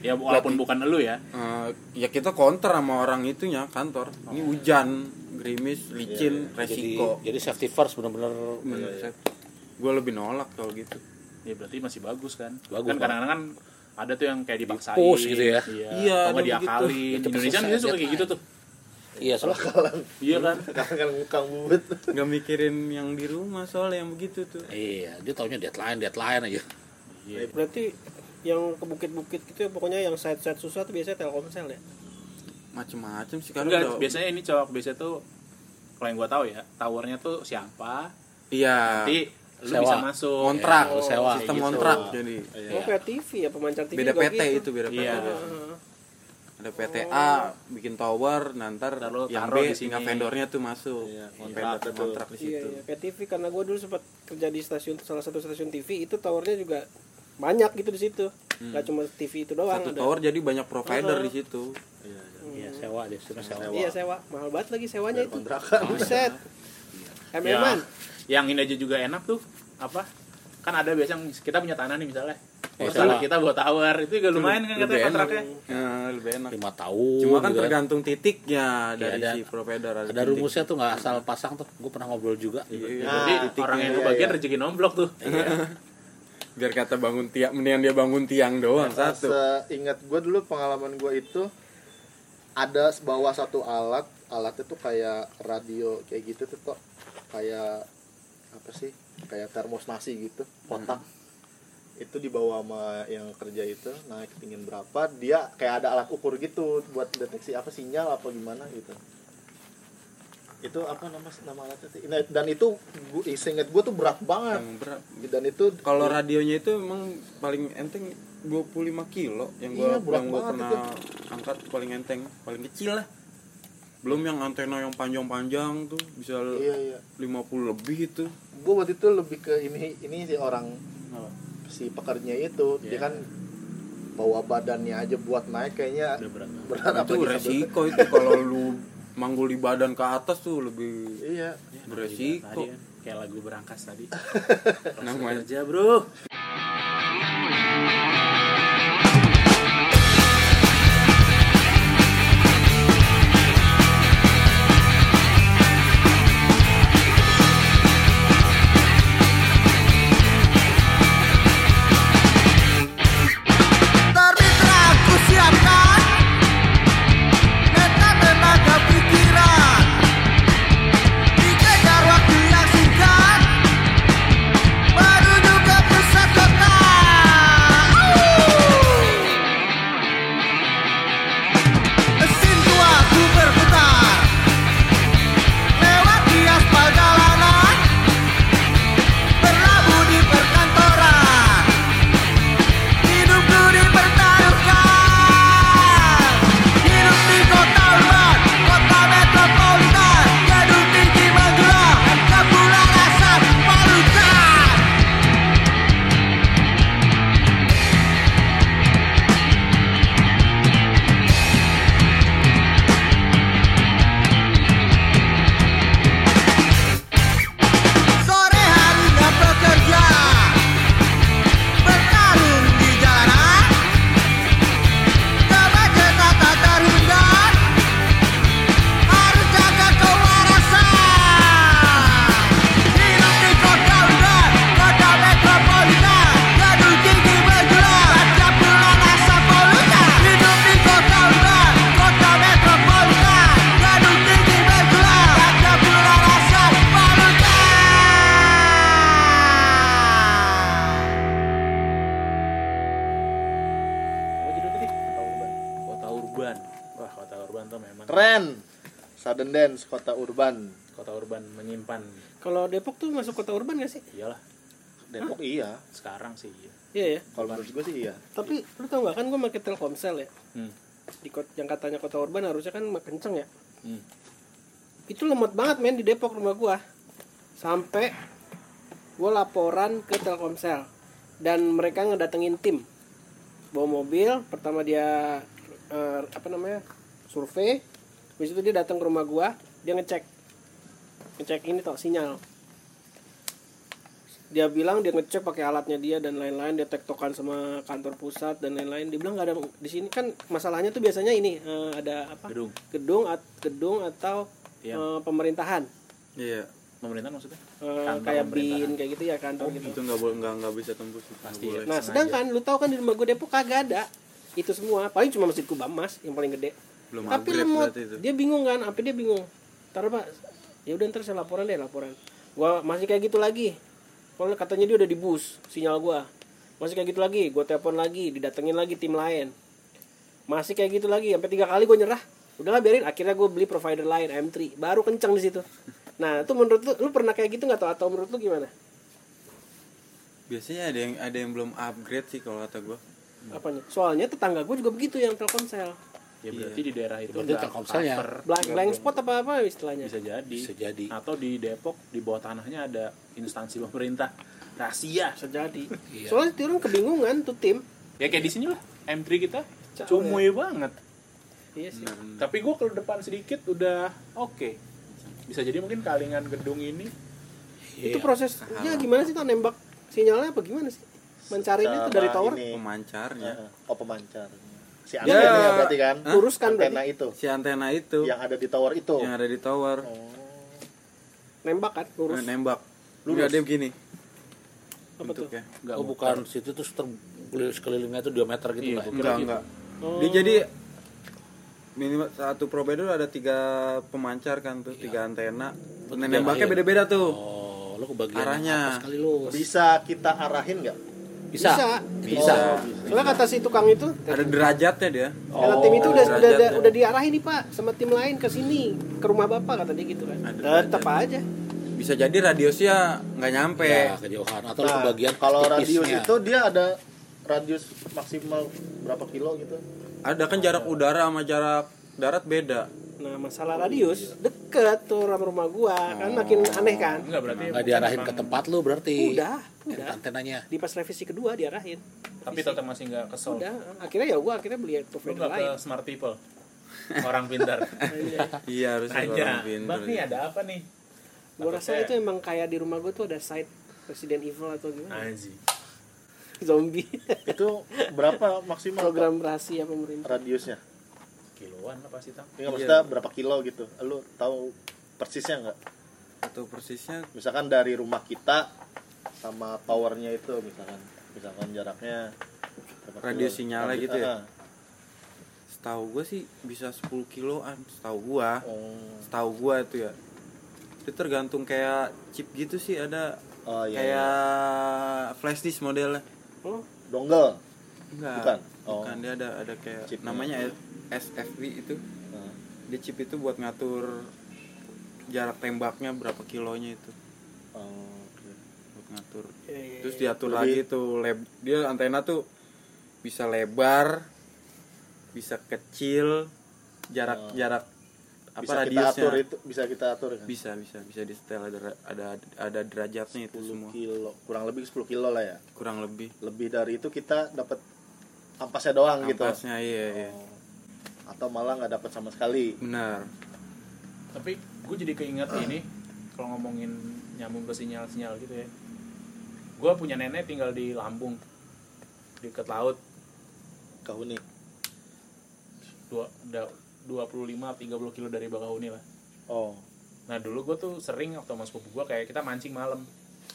Speaker 1: Ya walaupun bukan elu ya.
Speaker 5: Eh, ya kita counter sama orang itunya kantor ini hujan gerimis
Speaker 4: Iya,
Speaker 5: licin
Speaker 6: Jadi,
Speaker 5: resiko
Speaker 6: jadi safety first bener-bener Iya,
Speaker 5: menurut saya gue lebih nolak kalau gitu
Speaker 1: Ya berarti masih bagus kan.
Speaker 6: Bagus,
Speaker 1: kan
Speaker 6: Bang.
Speaker 1: kadang-kadang kan ada tuh yang kayak dipaksain.
Speaker 6: Di-push gitu ya.
Speaker 1: Iya.
Speaker 5: Iya,
Speaker 1: Atau nggak
Speaker 5: ada
Speaker 1: diakalin.
Speaker 6: begitu. Ya,
Speaker 1: Indonesia
Speaker 6: cepet
Speaker 1: biasanya suka
Speaker 6: selesai,
Speaker 1: kayak gitu tuh.
Speaker 6: Iya salah.
Speaker 1: Iya kan.
Speaker 4: Kan ngukang bubut.
Speaker 5: nggak mikirin yang di rumah soalnya yang begitu tuh Eh,
Speaker 6: Iya, dia taunya deadline, deadline aja.
Speaker 5: Iya.
Speaker 2: Berarti yang ke bukit-bukit gitu ya, pokoknya yang side-side susah tuh biasanya Telkomsel ya.
Speaker 5: macem-macem sih kan
Speaker 1: Enggak,
Speaker 5: udah-
Speaker 1: biasanya ini cowok biasanya tuh kalau yang gua tahu ya, towernya tuh siapa,
Speaker 5: iya
Speaker 1: nanti lu
Speaker 6: Sewa.
Speaker 1: bisa masuk.
Speaker 5: kontrak
Speaker 6: Oh, sewa.
Speaker 5: sistem
Speaker 1: Gitu.
Speaker 5: kontrak jadi
Speaker 2: Oh, kayak TV ya, pemancar TV
Speaker 5: Iya. beda
Speaker 2: juga
Speaker 5: PT
Speaker 2: gitu.
Speaker 5: itu beda PT
Speaker 1: Iya.
Speaker 5: ada PTA bikin tower nah ntar
Speaker 1: Ntar lu
Speaker 5: yang
Speaker 1: taruh di
Speaker 5: B
Speaker 1: sini.
Speaker 5: tinggal vendornya tuh masuk
Speaker 4: Iya, kontrak
Speaker 5: kontrak
Speaker 4: tuh.
Speaker 5: kontrak di
Speaker 2: Iya,
Speaker 5: situ
Speaker 2: iya, kayak TV karena gue dulu sempat kerja di stasiun salah satu stasiun TV itu towernya juga banyak gitu di situ. Gak cuma TV itu doang.
Speaker 5: Hmm. satu
Speaker 2: ada.
Speaker 5: tower jadi banyak provider di situ
Speaker 6: Iya, sewa dia, sudah sewa.
Speaker 2: Iya sewa, mahal banget lagi sewanya itu.
Speaker 4: kontrakan.
Speaker 2: Buset.
Speaker 5: Iya.
Speaker 1: Ya,
Speaker 2: Emang
Speaker 1: yang ini aja juga enak tuh apa? Kan ada biasanya kita punya tanah nih misalnya.
Speaker 6: Oh,
Speaker 1: Terus tanah
Speaker 6: sewa.
Speaker 1: kita buat tower itu juga lumayan kan
Speaker 5: lebih
Speaker 1: katanya
Speaker 5: enak.
Speaker 1: kontraknya.
Speaker 5: Eh, lebih enak
Speaker 6: Lima tahun.
Speaker 5: Cuma kan
Speaker 6: gitu kan.
Speaker 5: tergantung titiknya dari
Speaker 6: ada-
Speaker 5: si provider ada,
Speaker 6: Ada
Speaker 5: titik.
Speaker 6: rumusnya tuh nggak asal pasang tuh. Gue pernah ngobrol juga.
Speaker 5: Iya,
Speaker 1: Jadi
Speaker 4: titiknya,
Speaker 1: orang yang
Speaker 4: iya,
Speaker 1: kebagian
Speaker 4: iya.
Speaker 1: rezeki nomblok tuh.
Speaker 5: Biar kata bangun tiang, mendingan dia bangun tiang doang satu.
Speaker 4: Seingat gue dulu pengalaman gue itu ada bawah satu alat, alatnya tuh kayak radio kayak gitu tuh Tok. kayak apa sih? Kayak termos nasi gitu, kotak. Itu dibawa sama yang kerja itu naik ketinggian berapa, dia kayak ada alat ukur gitu buat deteksi apa sinyal apa gimana gitu. Itu apa nama nama alatnya? sih? Nah, dan itu gua, seingat gue tuh berat banget.
Speaker 5: Yang berat.
Speaker 4: Dan itu
Speaker 5: Hmm. Kalau radionya itu emang paling enteng 25 kilo yang gua,
Speaker 4: Iya, berat
Speaker 5: yang gua
Speaker 4: banget
Speaker 5: pernah angkat paling enteng, paling kecil lah. Belum yang antena yang panjang-panjang tuh bisa
Speaker 4: iya iya.
Speaker 5: 50 lebih itu.
Speaker 4: gue waktu itu lebih ke ini ini si orang si pekerja itu dia kan bawa badannya aja buat naik kayaknya berat apa
Speaker 5: itu
Speaker 4: gitu
Speaker 5: resiko itu kalau lu manggul di badan ke atas tuh lebih
Speaker 4: iya
Speaker 1: Tadi
Speaker 5: beresiko.
Speaker 1: kan, kayak lagu berangkas tadi.
Speaker 5: Namanya
Speaker 1: Kerja, Bro.
Speaker 3: Terbitlah aku siapkan Meta tenaga pikiran Dikejar waktu yang singkat Menuju ke pusat
Speaker 1: urban wah kota urban tuh memang
Speaker 4: Keren. Sudden dance kota urban.
Speaker 1: kota urban menyimpan
Speaker 2: Kalau Depok tuh masuk kota urban gak sih?
Speaker 1: iyalah
Speaker 4: Depok iya.
Speaker 1: sekarang sih iya.
Speaker 2: Iya ya.
Speaker 4: Kalau menurut gue sih iya.
Speaker 2: Tapi lu tau gak kan gue pakai Telkomsel ya.
Speaker 1: Hmm.
Speaker 2: Di kota, yang katanya kota urban harusnya kan mak- kenceng ya.
Speaker 1: Hmm.
Speaker 2: Itu lemot banget men di Depok rumah gua. Sampai gue laporan ke Telkomsel dan mereka ngedatengin tim bawa mobil pertama dia eh, apa namanya survei habis itu dia datang ke rumah gua dia ngecek ngecek ini tau sinyal dia bilang dia ngecek pakai alatnya dia dan lain-lain dia tektokan sama kantor pusat dan lain-lain dia bilang nggak ada di sini kan masalahnya tuh biasanya ini eh, ada apa
Speaker 1: gedung
Speaker 2: gedung at- gedung atau
Speaker 1: Iya.
Speaker 2: eh, pemerintahan
Speaker 5: Iya,
Speaker 1: pemerintahan maksudnya
Speaker 2: Eh,
Speaker 1: Kantor
Speaker 2: kayak
Speaker 1: pemerintahan.
Speaker 2: bin kayak gitu ya kantor gitu
Speaker 5: itu nggak boleh nggak nggak bisa tembus.
Speaker 1: Pasti ya.
Speaker 5: Nggak boleh.
Speaker 2: Nah,
Speaker 1: Sengaja.
Speaker 2: sedangkan lu tahu kan di rumah gue Depok kagak ada itu semua. Paling cuma masjid Kubah Mas yang paling gede.
Speaker 5: Belum
Speaker 2: Tapi
Speaker 5: upgrade
Speaker 2: lemot.
Speaker 5: berarti itu.
Speaker 2: Dia bingung kan, apa dia bingung. Taruh Pak, ya udah ntar saya laporan deh, laporan. Gua masih kayak gitu lagi. Kalau katanya dia udah di bus sinyal gua. Masih kayak gitu lagi, gua telepon lagi, didatengin lagi tim lain. Masih kayak gitu lagi, sampai tiga kali gua nyerah. Udahlah biarin, akhirnya gue beli provider lain M3, baru kencang di situ. Nah, itu menurut lu, lu pernah kayak gitu nggak tau atau menurut lu gimana?
Speaker 5: Biasanya ada yang ada yang belum upgrade sih kalau kata gua.
Speaker 2: Apanya? Soalnya tetangga gue juga begitu yang Telkomsel.
Speaker 1: ya berarti di daerah itu
Speaker 6: Berarti
Speaker 1: nggak
Speaker 6: Telkomsel ya.
Speaker 1: cover.
Speaker 2: blank blank spot apa apa istilahnya
Speaker 1: bisa jadi
Speaker 6: Bisa jadi.
Speaker 1: atau di Depok di bawah tanahnya ada instansi pemerintah rahasia
Speaker 2: bisa jadi
Speaker 1: Iya.
Speaker 6: Iya.
Speaker 2: soalnya dia orang kebingungan tuh tim
Speaker 1: ya kayak di sini lah M3 kita
Speaker 2: Jauh
Speaker 6: ya.
Speaker 1: cumuy banget
Speaker 2: iya sih
Speaker 6: Hmm.
Speaker 1: tapi gue ke depan sedikit udah oke bisa jadi mungkin kalingan gedung ini
Speaker 2: itu
Speaker 6: Iya.
Speaker 1: Iya.
Speaker 2: prosesnya gimana sih tuh nembak sinyalnya apa gimana sih mencarinya tuh dari
Speaker 4: Sama
Speaker 2: tower
Speaker 4: ini.
Speaker 5: Pemancarnya.
Speaker 4: Oh pemancar. Si
Speaker 2: Dia
Speaker 4: antena
Speaker 5: nggak-
Speaker 4: berarti kan?
Speaker 2: Hah? Luruskan berarti.
Speaker 4: antena itu.
Speaker 5: Si antena itu
Speaker 4: Yang ada di tower itu.
Speaker 5: yang ada di tower
Speaker 2: nembak kan lurus
Speaker 5: nah, nembak. Enggak ada yang begini
Speaker 2: apa tuh
Speaker 5: bentuknya.
Speaker 1: nggak
Speaker 6: oh bukan situ terus terkeliling sekelilingnya itu 2 meter gitu
Speaker 1: Iya,
Speaker 6: lah ya.
Speaker 1: gua
Speaker 5: Enggak,
Speaker 1: gitu.
Speaker 5: enggak.
Speaker 2: Oh.
Speaker 5: Dia jadi minimal satu provider ada tiga pemancar kan tuh, tiga antena. Nah, nembaknya
Speaker 6: iya.
Speaker 5: beda-beda tuh.
Speaker 6: oh lu kebagian
Speaker 5: Arahnya.
Speaker 6: atas kali lu
Speaker 4: Bisa kita arahin nggak?
Speaker 6: bisa
Speaker 2: Bisa.
Speaker 6: bisa
Speaker 1: Oh,
Speaker 2: soalnya kata si tukang itu
Speaker 5: Ada derajatnya dia.
Speaker 2: karena tim itu udah udah, udah
Speaker 5: derajatnya.
Speaker 2: udah diarahin nih pak sama tim lain ke sini ke rumah bapak kata dia gitu kan
Speaker 5: Ada
Speaker 2: tetap aja
Speaker 5: Bisa jadi radiusnya nggak nyampe.
Speaker 3: Iya.
Speaker 6: ya kejauhan atau lu
Speaker 4: Nah,
Speaker 6: kebagian
Speaker 4: kalau
Speaker 6: tipisnya.
Speaker 4: radius itu dia ada radius maksimal berapa kilo gitu?
Speaker 5: Ada kan jarak udara sama jarak darat beda.
Speaker 2: nah masalah radius deket tuh sama rumah gua kan makin aneh kan
Speaker 1: enggak berarti
Speaker 6: nggak diarahin ke tempat
Speaker 3: Iya.
Speaker 6: lu berarti Kan
Speaker 2: udah udah
Speaker 6: antenanya
Speaker 2: di pas revisi kedua diarahin
Speaker 1: tapi tetap masih nggak kesel
Speaker 2: udah akhirnya ya gua akhirnya beli
Speaker 1: lu
Speaker 2: provider
Speaker 1: nggak ke
Speaker 2: lain
Speaker 1: smart people orang pintar
Speaker 5: Iya harus
Speaker 1: aja bang nih ada apa nih
Speaker 2: Gue rasa
Speaker 1: Takutnya-
Speaker 2: itu emang kayak di rumah gue tuh ada side Resident Evil atau gimana
Speaker 1: Anjing.
Speaker 2: Zombie
Speaker 4: Itu berapa maksimal
Speaker 2: Program rahasia pemerintah
Speaker 4: radiusnya?
Speaker 1: kiloan lah pasti tang
Speaker 4: Enggak maksudnya berapa kilo gitu? Lu tahu persisnya nggak?
Speaker 5: Atau persisnya
Speaker 4: Misalkan dari rumah kita sama towernya itu misalkan misalkan jaraknya berapa kilo?
Speaker 5: Radius sinyalnya
Speaker 4: Radius-
Speaker 5: gitu ya?
Speaker 4: ah,
Speaker 5: setahu gua sih bisa 10 kiloan setahu gua.
Speaker 4: oh.
Speaker 5: Setahu gua itu ya. Itu tergantung kayak chip gitu sih ada
Speaker 4: Oh, iya,
Speaker 5: kayak flash disk modelnya.
Speaker 2: Oh
Speaker 4: dongle
Speaker 5: Enggak.
Speaker 4: Bukan? Oh.
Speaker 5: Bukan dia ada ada kayak
Speaker 4: Chipnya.
Speaker 5: namanya SFV itu.
Speaker 4: Nah,
Speaker 5: Dia chip itu buat ngatur jarak tembaknya berapa kilonya itu.
Speaker 4: oh, oke.
Speaker 5: Buat ngatur.
Speaker 2: iya, iya,
Speaker 4: Eh,
Speaker 5: Terus diatur
Speaker 4: Lebih-
Speaker 5: lagi tuh leb dia antena tuh bisa lebar, bisa kecil, jarak jarak
Speaker 4: Oh.
Speaker 5: apa
Speaker 4: bisa kita
Speaker 5: radiusnya.
Speaker 4: atur itu bisa kita atur kan
Speaker 5: Bisa bisa bisa di setel ada ada ada derajatnya itu
Speaker 4: 10
Speaker 5: semua.
Speaker 4: kilo kurang lebih 10 kilo lah ya
Speaker 5: Kurang lebih.
Speaker 4: lebih dari itu kita dapat ampasnya doang gitu
Speaker 5: Ampasnya iya iya.
Speaker 4: atau malah nggak dapat sama sekali
Speaker 5: Benar.
Speaker 1: tapi gue jadi keinget ini kalau ngomongin nyambung ke sinyal-sinyal gitu ya gue punya nenek tinggal di Lampung dekat laut
Speaker 4: kahuni
Speaker 1: dua da- 25 30 kilo dari Bakahuni lah
Speaker 4: oh
Speaker 1: nah dulu gue tuh sering waktu mas sepupu gue kayak kita mancing malam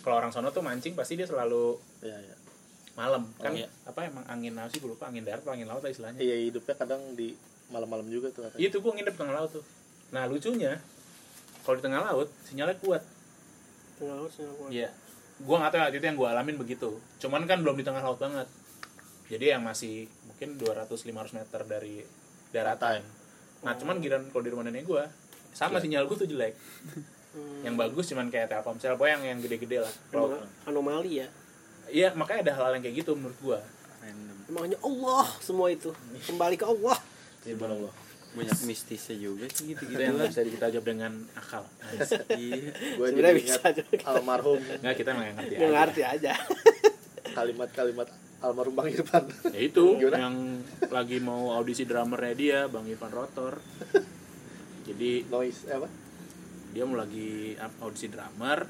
Speaker 1: kalau orang sono tuh mancing pasti dia selalu
Speaker 4: iya iya
Speaker 1: malam kan
Speaker 4: iya.
Speaker 1: apa emang angin apa sih gue lupa angin darat apa angin laut lah istilahnya
Speaker 4: iya hidupnya kadang di malam-malam juga tuh katanya.
Speaker 1: Itu gue nginep tengah laut tuh. Nah lucunya, kalau di tengah laut sinyalnya kuat.
Speaker 2: Tengah laut sinyal gua.
Speaker 1: Iya. Gue nggak tahu ya, waktu itu yang gue alamin begitu. Cuman kan belum di tengah laut banget. Jadi yang masih mungkin 200-500 meter dari daratan. Nah, cuman giran kalau di rumah nenek gua sama sinyal gua tuh jelek. Yang bagus cuman kayak Telkomsel, pokoknya yang yang gede-gede lah.
Speaker 2: Emang
Speaker 1: Kalau-
Speaker 2: anomali ya.
Speaker 1: Iya, makanya ada hal yang kayak gitu menurut gua.
Speaker 5: Random.
Speaker 2: Emang hanya Allah semua itu. Kembali ke Allah.
Speaker 1: Subhanallah.
Speaker 5: Banyak mistisnya juga sih
Speaker 1: Itu
Speaker 5: gitu-gitu.
Speaker 1: yang nggak bisa kita jawab dengan akal.
Speaker 5: Iya.
Speaker 4: Gue jadi
Speaker 2: Sebenarnya bisa
Speaker 4: ingat almarhum
Speaker 1: Enggak, kita emang nggak ngerti.
Speaker 2: Nggak
Speaker 1: aja.
Speaker 2: ngerti aja.
Speaker 4: kalimat-kalimat almarhum Bang Irfan.
Speaker 1: Ya itu
Speaker 4: Gimana?
Speaker 1: yang lagi mau audisi drummernya dia, Bang Ivan Rotor. Jadi
Speaker 4: Noise eh, apa?
Speaker 1: dia mau lagi up- audisi drummer,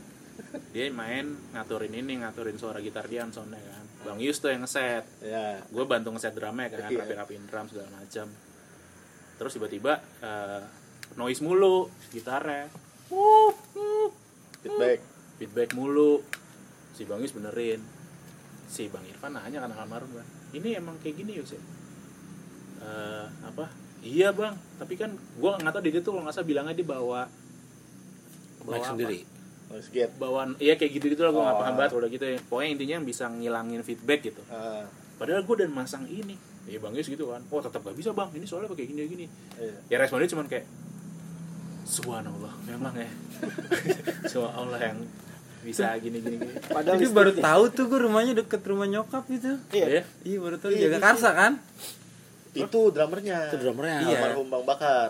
Speaker 1: dia main ngaturin ini, ngaturin suara gitar dia soundnya kan. Bang Yus tuh yang ngeset.
Speaker 4: Ya.
Speaker 1: gue bantu ngeset drumnya kan
Speaker 4: Iya.
Speaker 1: rapi-rapiin drum segala macam terus tiba-tiba eh, noise mulu gitarnya Wup, wup,
Speaker 4: Feedback.
Speaker 1: feedback mulu si bang Yus benerin si bang Irfan nanya kan almarhum kan ini emang kayak gini Yus ya Eh, apa iya bang tapi kan gue nggak tahu dia tuh kalau nggak salah bilangnya dia bawa
Speaker 6: Mic
Speaker 1: apa?
Speaker 6: sendiri.
Speaker 4: Noise gate.
Speaker 1: bawaan iya kayak gitu gitu lah gue nggak
Speaker 4: Oh.
Speaker 1: paham banget udah gitu ya pokoknya intinya yang bisa ngilangin feedback gitu
Speaker 4: Ah,
Speaker 1: padahal gue dan masang ini ya bang Yus gitu kan oh tetap gak bisa bang ini soalnya pakai gini gini
Speaker 4: iya.
Speaker 1: ya responnya cuman kayak subhanallah memang ya cuma Allah yang bisa gini gini, gini.
Speaker 2: Padahal
Speaker 5: Jadi
Speaker 2: listrik-
Speaker 5: baru tahu tuh gue rumahnya deket rumah nyokap gitu.
Speaker 2: Iya.
Speaker 1: ya
Speaker 5: Iya baru tahu di
Speaker 4: gitu.
Speaker 5: Jakarta kan?
Speaker 4: Itu drummernya.
Speaker 6: Itu drummernya.
Speaker 5: Iya.
Speaker 4: Almarhum Bang Bakar.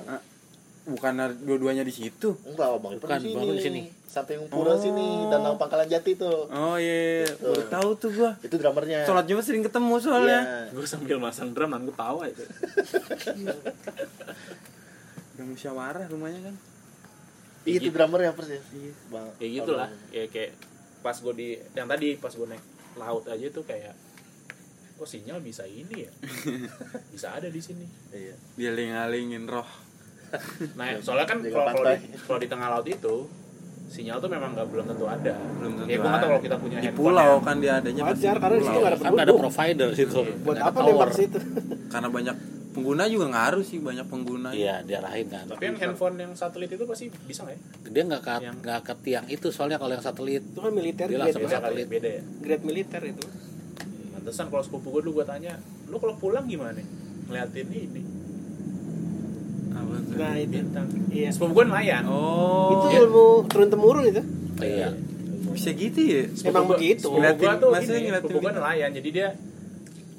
Speaker 5: Bukan dua-duanya di situ.
Speaker 4: Enggak, Bang Irfan
Speaker 6: Bukan,
Speaker 4: di
Speaker 6: Bang
Speaker 4: sini.
Speaker 6: di sini.
Speaker 4: Samping Pura
Speaker 5: Oh.
Speaker 4: sini dan Lang Pangkalan Jati tuh.
Speaker 5: Oh iya,
Speaker 4: Gitu.
Speaker 5: baru tahu tuh gue.
Speaker 4: Itu drummernya.
Speaker 5: Sholat Jumat sering ketemu
Speaker 4: Iya.
Speaker 5: soalnya.
Speaker 1: gue sambil masang drum dan gue tawa itu
Speaker 5: Udah musyawarah rumahnya kan.
Speaker 4: Itu drummernya persis.
Speaker 5: Iya.
Speaker 4: Bang.
Speaker 1: ya gitulah ya kayak pas gue di yang tadi pas gue naik laut aja tuh kayak kok sinyal bisa ini ya bisa ada di sini
Speaker 4: Iya.
Speaker 5: Dia aling roh.
Speaker 1: nah soalnya kan
Speaker 4: Jaga
Speaker 1: kalau kalau di,
Speaker 4: pantai.
Speaker 1: kalau di tengah laut itu sinyal tuh memang nggak belum tentu ada
Speaker 5: Belum tentu
Speaker 1: ya gue nggak tahu
Speaker 5: ada.
Speaker 1: kalau kita punya
Speaker 5: Di
Speaker 1: handphone
Speaker 5: pulau
Speaker 6: ya.
Speaker 5: kan dia adanya pasti
Speaker 2: wajar
Speaker 5: di
Speaker 2: karena di situ
Speaker 5: pulau.
Speaker 2: nggak ada
Speaker 6: Kan nggak ada
Speaker 2: penduduk.
Speaker 6: provider di situ.
Speaker 2: Buat
Speaker 6: Nggak ada
Speaker 2: apa
Speaker 6: tower.
Speaker 2: nembak situ?
Speaker 5: Karena banyak pengguna juga ngaruh sih banyak pengguna.
Speaker 6: Iya, diarahin kan.
Speaker 1: Tapi yang handphone yang satelit itu pasti bisa nggak ya?
Speaker 3: Iya,
Speaker 6: Dia nggak ke
Speaker 1: Yang-
Speaker 6: nggak ke tiang itu soalnya kalau yang satelit
Speaker 2: Itu kan militer
Speaker 6: Dia
Speaker 2: grade,
Speaker 6: langsung
Speaker 1: Bisa kali
Speaker 6: satelit.
Speaker 1: beda ya.
Speaker 2: grade militer itu.
Speaker 1: Pantesan kalau sepupu gue dulu gue tanya, lu kalau pulang gimana? Ngeliatin ini
Speaker 5: Apa tuh?
Speaker 2: Nah, itu.
Speaker 1: bintang. Ya,
Speaker 2: Iya.
Speaker 1: Sepupu gue nelayan.
Speaker 5: Oh,
Speaker 2: Itu ilmu turun temurun itu.
Speaker 6: iya.
Speaker 5: bisa gitu ya?
Speaker 1: Sepupu
Speaker 2: Emang
Speaker 1: gua-
Speaker 2: begitu.
Speaker 1: Sepupu gue
Speaker 5: Ngeliatin-
Speaker 1: tuh
Speaker 5: maksudnya
Speaker 1: gini,
Speaker 5: ngeliatin
Speaker 1: sepupu gue
Speaker 5: bintang.
Speaker 1: nelayan. Jadi dia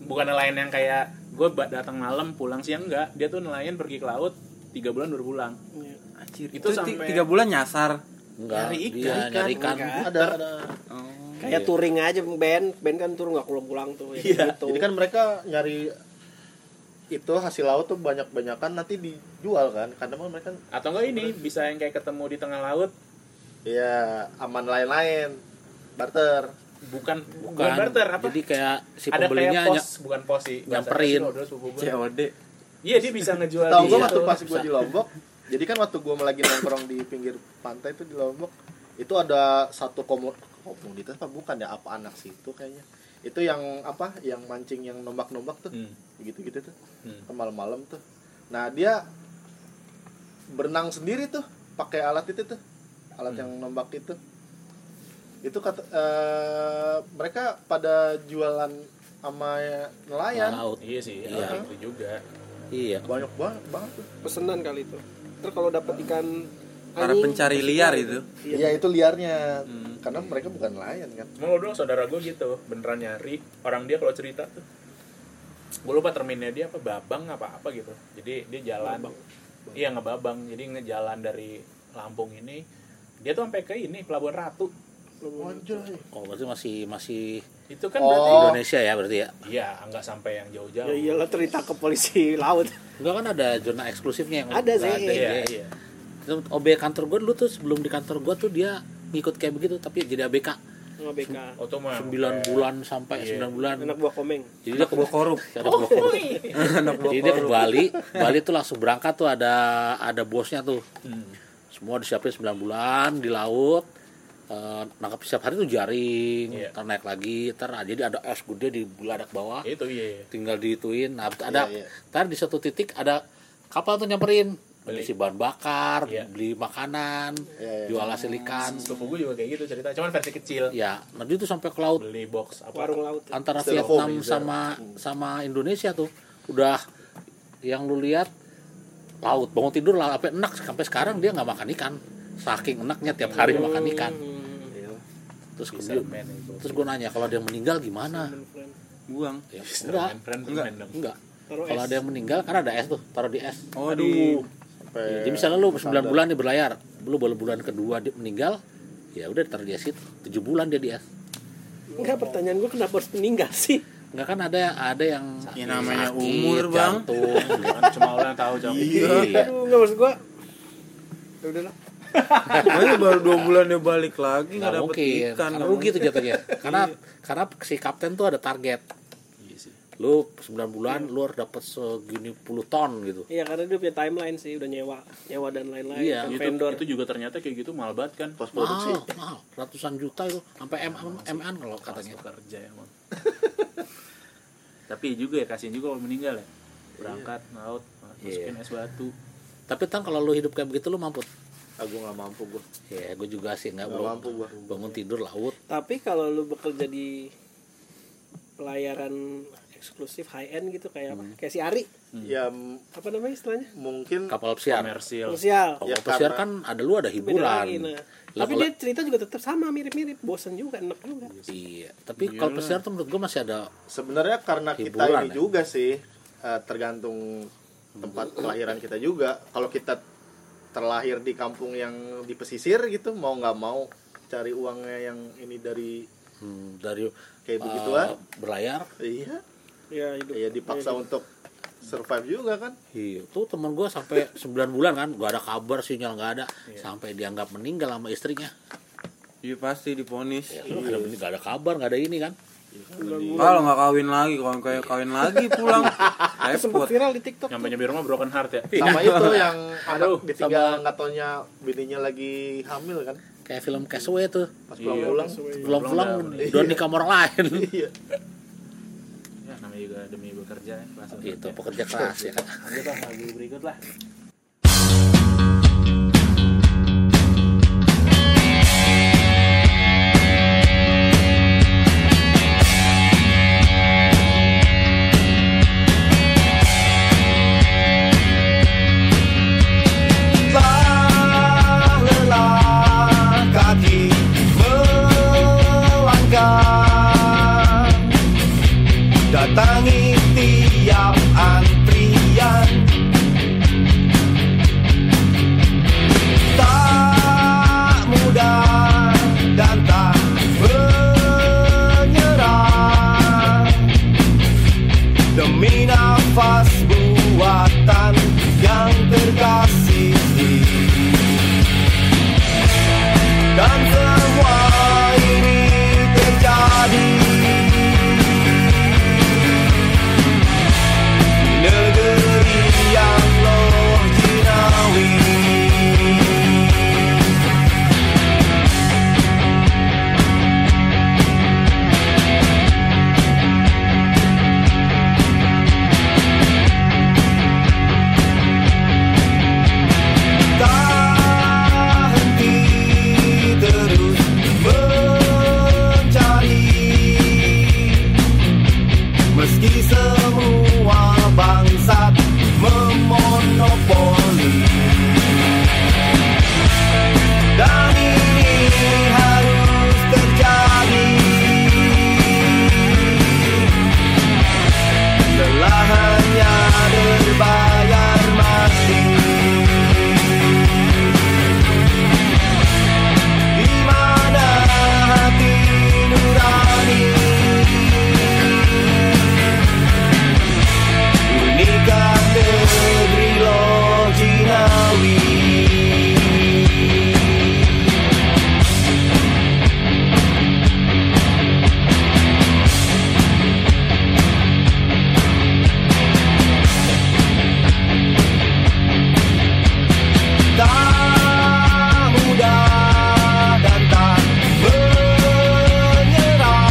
Speaker 1: bukan nelayan yang kayak gue datang malam pulang siang enggak. Dia tuh nelayan pergi ke laut tiga bulan baru pulang.
Speaker 5: Anjir,
Speaker 1: Itu
Speaker 5: itu, ti-
Speaker 1: sampai-
Speaker 5: tiga bulan nyasar.
Speaker 6: Enggak,
Speaker 1: Nyari ikan,
Speaker 6: dia nyari ikan.
Speaker 4: Ada, ada.
Speaker 5: Oh.
Speaker 2: Kayak Ya, touring aja band, band kan turun nggak pulang-pulang tuh. ya
Speaker 1: Iya.
Speaker 2: gitu.
Speaker 4: Jadi kan mereka nyari itu hasil laut tuh banyak-banyakan nanti dijual kan karena mah mereka
Speaker 1: Atau enggak ini bisa yang kayak ketemu di tengah laut
Speaker 4: ya aman lain-lain barter
Speaker 1: bukan bukan,
Speaker 6: Bukan.
Speaker 1: barter apa?
Speaker 6: Jadi kayak si
Speaker 1: ada kayak
Speaker 6: pembelinya
Speaker 1: pos,
Speaker 6: hanya
Speaker 1: bukan pos sih. Bahasa
Speaker 6: nyamperin.
Speaker 1: Inggris loh, sepupu gua.
Speaker 5: COD.
Speaker 1: Iya dia bisa ngejual
Speaker 4: Tahu gue
Speaker 1: gitu.
Speaker 4: waktu pas gue di Lombok, jadi kan waktu gue lagi nongkrong di pinggir pantai itu di Lombok, itu ada satu komu- komunitas apa bukan ya apa anak situ kayaknya. Itu yang apa yang mancing yang nombak-nombak tuh,
Speaker 1: Hmm.
Speaker 4: gitu-gitu tuh.
Speaker 1: Hmm.
Speaker 4: Kan Malam-malam tuh. Nah, dia berenang sendiri tuh pakai alat itu tuh.
Speaker 6: Hmm.
Speaker 4: Alat yang nombak itu. Itu kata eh, mereka pada jualan sama
Speaker 6: Tengah
Speaker 4: nelayan.
Speaker 6: laut.
Speaker 1: Iya sih,
Speaker 6: Iya.
Speaker 1: iya. itu juga.
Speaker 6: Iya.
Speaker 4: Banyak banget, banget tuh.
Speaker 2: pesenan kali itu. Terus kalau dapat ikan
Speaker 5: Para
Speaker 2: anjing,
Speaker 5: pencari liar
Speaker 6: ya?
Speaker 5: itu.
Speaker 4: Iya itu liarnya,
Speaker 6: Hmm.
Speaker 4: karena mereka bukan nelayan kan.
Speaker 1: Cuma lo dulu saudara gue gitu, beneran nyari orang dia kalau cerita tuh. Gue lupa terminnya dia apa, babang apa apa gitu. Jadi dia jalan, iya ngebabang. Jadi ngejalan dari Lampung ini, dia tuh sampai ke ini Pelabuhan Ratu.
Speaker 4: Anjay.
Speaker 6: Oh, berarti masih masih
Speaker 1: Itu kan berarti,
Speaker 4: Oh,
Speaker 6: Indonesia ya berarti ya.
Speaker 1: iya nggak sampai yang jauh-jauh.
Speaker 2: Ya iyalah cerita ke polisi laut.
Speaker 6: Enggak kan ada zona eksklusifnya yang
Speaker 2: Ada sih,
Speaker 6: nggak ada
Speaker 1: Iya,
Speaker 6: ya.
Speaker 1: iya.
Speaker 6: Itu OB kantor gue dulu tuh sebelum di kantor gue tuh dia ngikut kayak begitu tapi jadi ABK
Speaker 2: Sama BK.
Speaker 1: Oh, tuh mah iya.
Speaker 6: 9 bulan sampai 9 bulan.
Speaker 2: Anak buah komeng.
Speaker 6: Jadi dia ke korup.
Speaker 5: Anak
Speaker 6: Jadi dia ke Bali, Bali tuh langsung berangkat tuh ada ada bosnya tuh.
Speaker 1: Hmm.
Speaker 6: Semua disiapin 9 bulan di laut. Eh, nangkap setiap hari tuh jaring,
Speaker 1: Iya.
Speaker 6: ntar naik lagi, ntar ah, jadi ada es gede di beladak bawah,
Speaker 1: Itu iya.
Speaker 6: tinggal dihituin. Nah, ada
Speaker 4: Iya, iya.
Speaker 6: ntar di satu titik ada kapal tuh nyamperin,
Speaker 1: Beli.
Speaker 6: beli bahan bakar,
Speaker 1: Iya.
Speaker 6: beli makanan,
Speaker 4: Iya, iya.
Speaker 6: Ya, jual hasil ikan.
Speaker 1: Sepupu gue juga kayak gitu cerita, cuman versi kecil.
Speaker 6: Ya, nanti tuh sampai ke laut
Speaker 1: Beli box apa?
Speaker 2: Warung laut.
Speaker 6: antara
Speaker 4: Styrofoam,
Speaker 6: Vietnam
Speaker 4: iya.
Speaker 6: sama sama Indonesia tuh udah yang lu lihat laut bangun tidur lah apa enak sampai sekarang dia nggak makan ikan saking enaknya tiap hari makan ikan terus
Speaker 1: Bisa
Speaker 6: kemudian
Speaker 1: men itu.
Speaker 6: terus gue nanya kalau ada yang meninggal gimana
Speaker 5: buang
Speaker 6: ya,
Speaker 1: Bisa
Speaker 6: enggak
Speaker 1: men, friend
Speaker 5: Enggak.
Speaker 1: men dong.
Speaker 6: enggak
Speaker 2: Taruh
Speaker 6: kalau
Speaker 2: es.
Speaker 6: ada yang meninggal kan ada es tuh taruh di es
Speaker 5: oh di
Speaker 6: Ya, jadi misalnya lu 9 bulan nih berlayar, lu baru bulan kedua dia meninggal, ya udah taruh dia situ. 7 bulan dia di es.
Speaker 2: Enggak pertanyaan gue kenapa harus meninggal sih?
Speaker 6: Enggak kan ada ada yang
Speaker 5: Ya, namanya umur, Bang.
Speaker 6: jantung. gitu.
Speaker 1: Kan cuma orang yang tahu jawab.
Speaker 6: Iya.
Speaker 2: Aduh, enggak maksud gue. Ya udahlah.
Speaker 5: Makanya baru dua bulan dia balik lagi nggak
Speaker 6: Nggak
Speaker 5: dapet ikan
Speaker 6: mungkin.
Speaker 5: Iya,
Speaker 6: Karena
Speaker 5: nggak
Speaker 6: rugi tuh jatuhnya. karena
Speaker 1: Iya.
Speaker 6: karena si kapten tuh ada target. Lu 9
Speaker 1: Iya.
Speaker 6: bulan lu harus dapat segini puluh ton gitu.
Speaker 2: Iya karena dia punya timeline sih udah nyewa, nyewa dan lain-lain.
Speaker 6: Iya.
Speaker 2: Kan
Speaker 1: Itu,
Speaker 2: vendor.
Speaker 1: itu juga ternyata kayak gitu mahal banget kan pas
Speaker 6: Mahal, mahal. Ratusan juta itu sampai M MN kalau katanya.
Speaker 1: Iya, kerja emang. Tapi juga ya kasihan juga kalau meninggal ya. Berangkat
Speaker 6: Iya.
Speaker 1: laut masukin es batu.
Speaker 6: Tapi tang kalau lu hidup kayak begitu lu mampu.
Speaker 4: aku Ah, nggak mampu gue
Speaker 6: Ya, gue juga sih nggak
Speaker 4: Nggak
Speaker 6: bro.
Speaker 4: mampu gua.
Speaker 6: Bangun tidur laut.
Speaker 2: Tapi kalau lu bekerja di pelayaran eksklusif high end gitu kayak apa? Kayak si Ari,
Speaker 4: ya m-
Speaker 2: apa namanya istilahnya?
Speaker 4: mungkin
Speaker 6: Kapal pesiar.
Speaker 1: Komersil.
Speaker 2: Sosial.
Speaker 6: Kalau
Speaker 4: Ya,
Speaker 6: pesiar
Speaker 4: karena-
Speaker 6: kan ada lu ada
Speaker 2: Beda lagi,
Speaker 6: hiburan.
Speaker 2: nah.
Speaker 6: Lah,
Speaker 2: Tapi
Speaker 6: kalau-
Speaker 2: dia cerita juga tetap sama mirip-mirip, bosen juga, enak juga.
Speaker 6: Iya, tapi kalau pesiar tuh menurut gua masih ada
Speaker 4: sebenarnya karena kita
Speaker 6: Hiburan,
Speaker 4: ini
Speaker 6: ya?
Speaker 4: juga sih eh, tergantung tempat kelahiran kita juga kalau kita terlahir di kampung yang di pesisir gitu mau nggak mau cari uangnya yang ini dari
Speaker 6: hmm, dari
Speaker 4: kayak
Speaker 6: eh,
Speaker 4: begituan
Speaker 6: berlayar.
Speaker 4: iya
Speaker 2: Iya, hidup.
Speaker 4: iya dipaksa untuk survive juga kan
Speaker 6: Iya, tuh teman gua sampai 9 bulan kan, gak ada kabar sinyal nggak ada, sampai dianggap meninggal sama istrinya.
Speaker 5: Iya pasti diponis.
Speaker 6: Ya, lu ada gak ada kabar, gak ada ini kan.
Speaker 5: Kalau nggak kawin lagi, kalau kayak kawin lagi pulang
Speaker 2: Sempat
Speaker 5: repot.
Speaker 2: viral di TikTok.
Speaker 1: Nyampe nyampe rumah broken heart ya.
Speaker 6: Iya.
Speaker 4: sama itu yang anak
Speaker 1: Aduh,
Speaker 4: ditinggal nggak taunya bininya lagi hamil kan
Speaker 6: Kayak film Castaway tuh,
Speaker 4: pas
Speaker 2: Iya,
Speaker 4: pulang-pulang
Speaker 6: pulang-pulang
Speaker 1: Iya.
Speaker 6: udah nikah sama orang lain.
Speaker 4: iya
Speaker 1: Ya namanya juga demi bekerja ya. bahasa
Speaker 4: Iya,
Speaker 6: gitu,
Speaker 1: bekerja.
Speaker 6: pekerja keras ya kan.
Speaker 1: Lanjut lah lagu berikut lah.
Speaker 3: Telah lelah kaki melangkah Datangi tiap antrian Tak mudah dan tak menyerah Demi nafas buatan yang terkasih dan semua ini terjadi Negeri yang loh jinawi Tak henti terus mencari Meski semua bangsat memonopoli Dan ini harus terjadi Lelahannya berbayar masih Di mana hati nurani Unikan negeri Lojinawi Tak mudah dan tak menyerah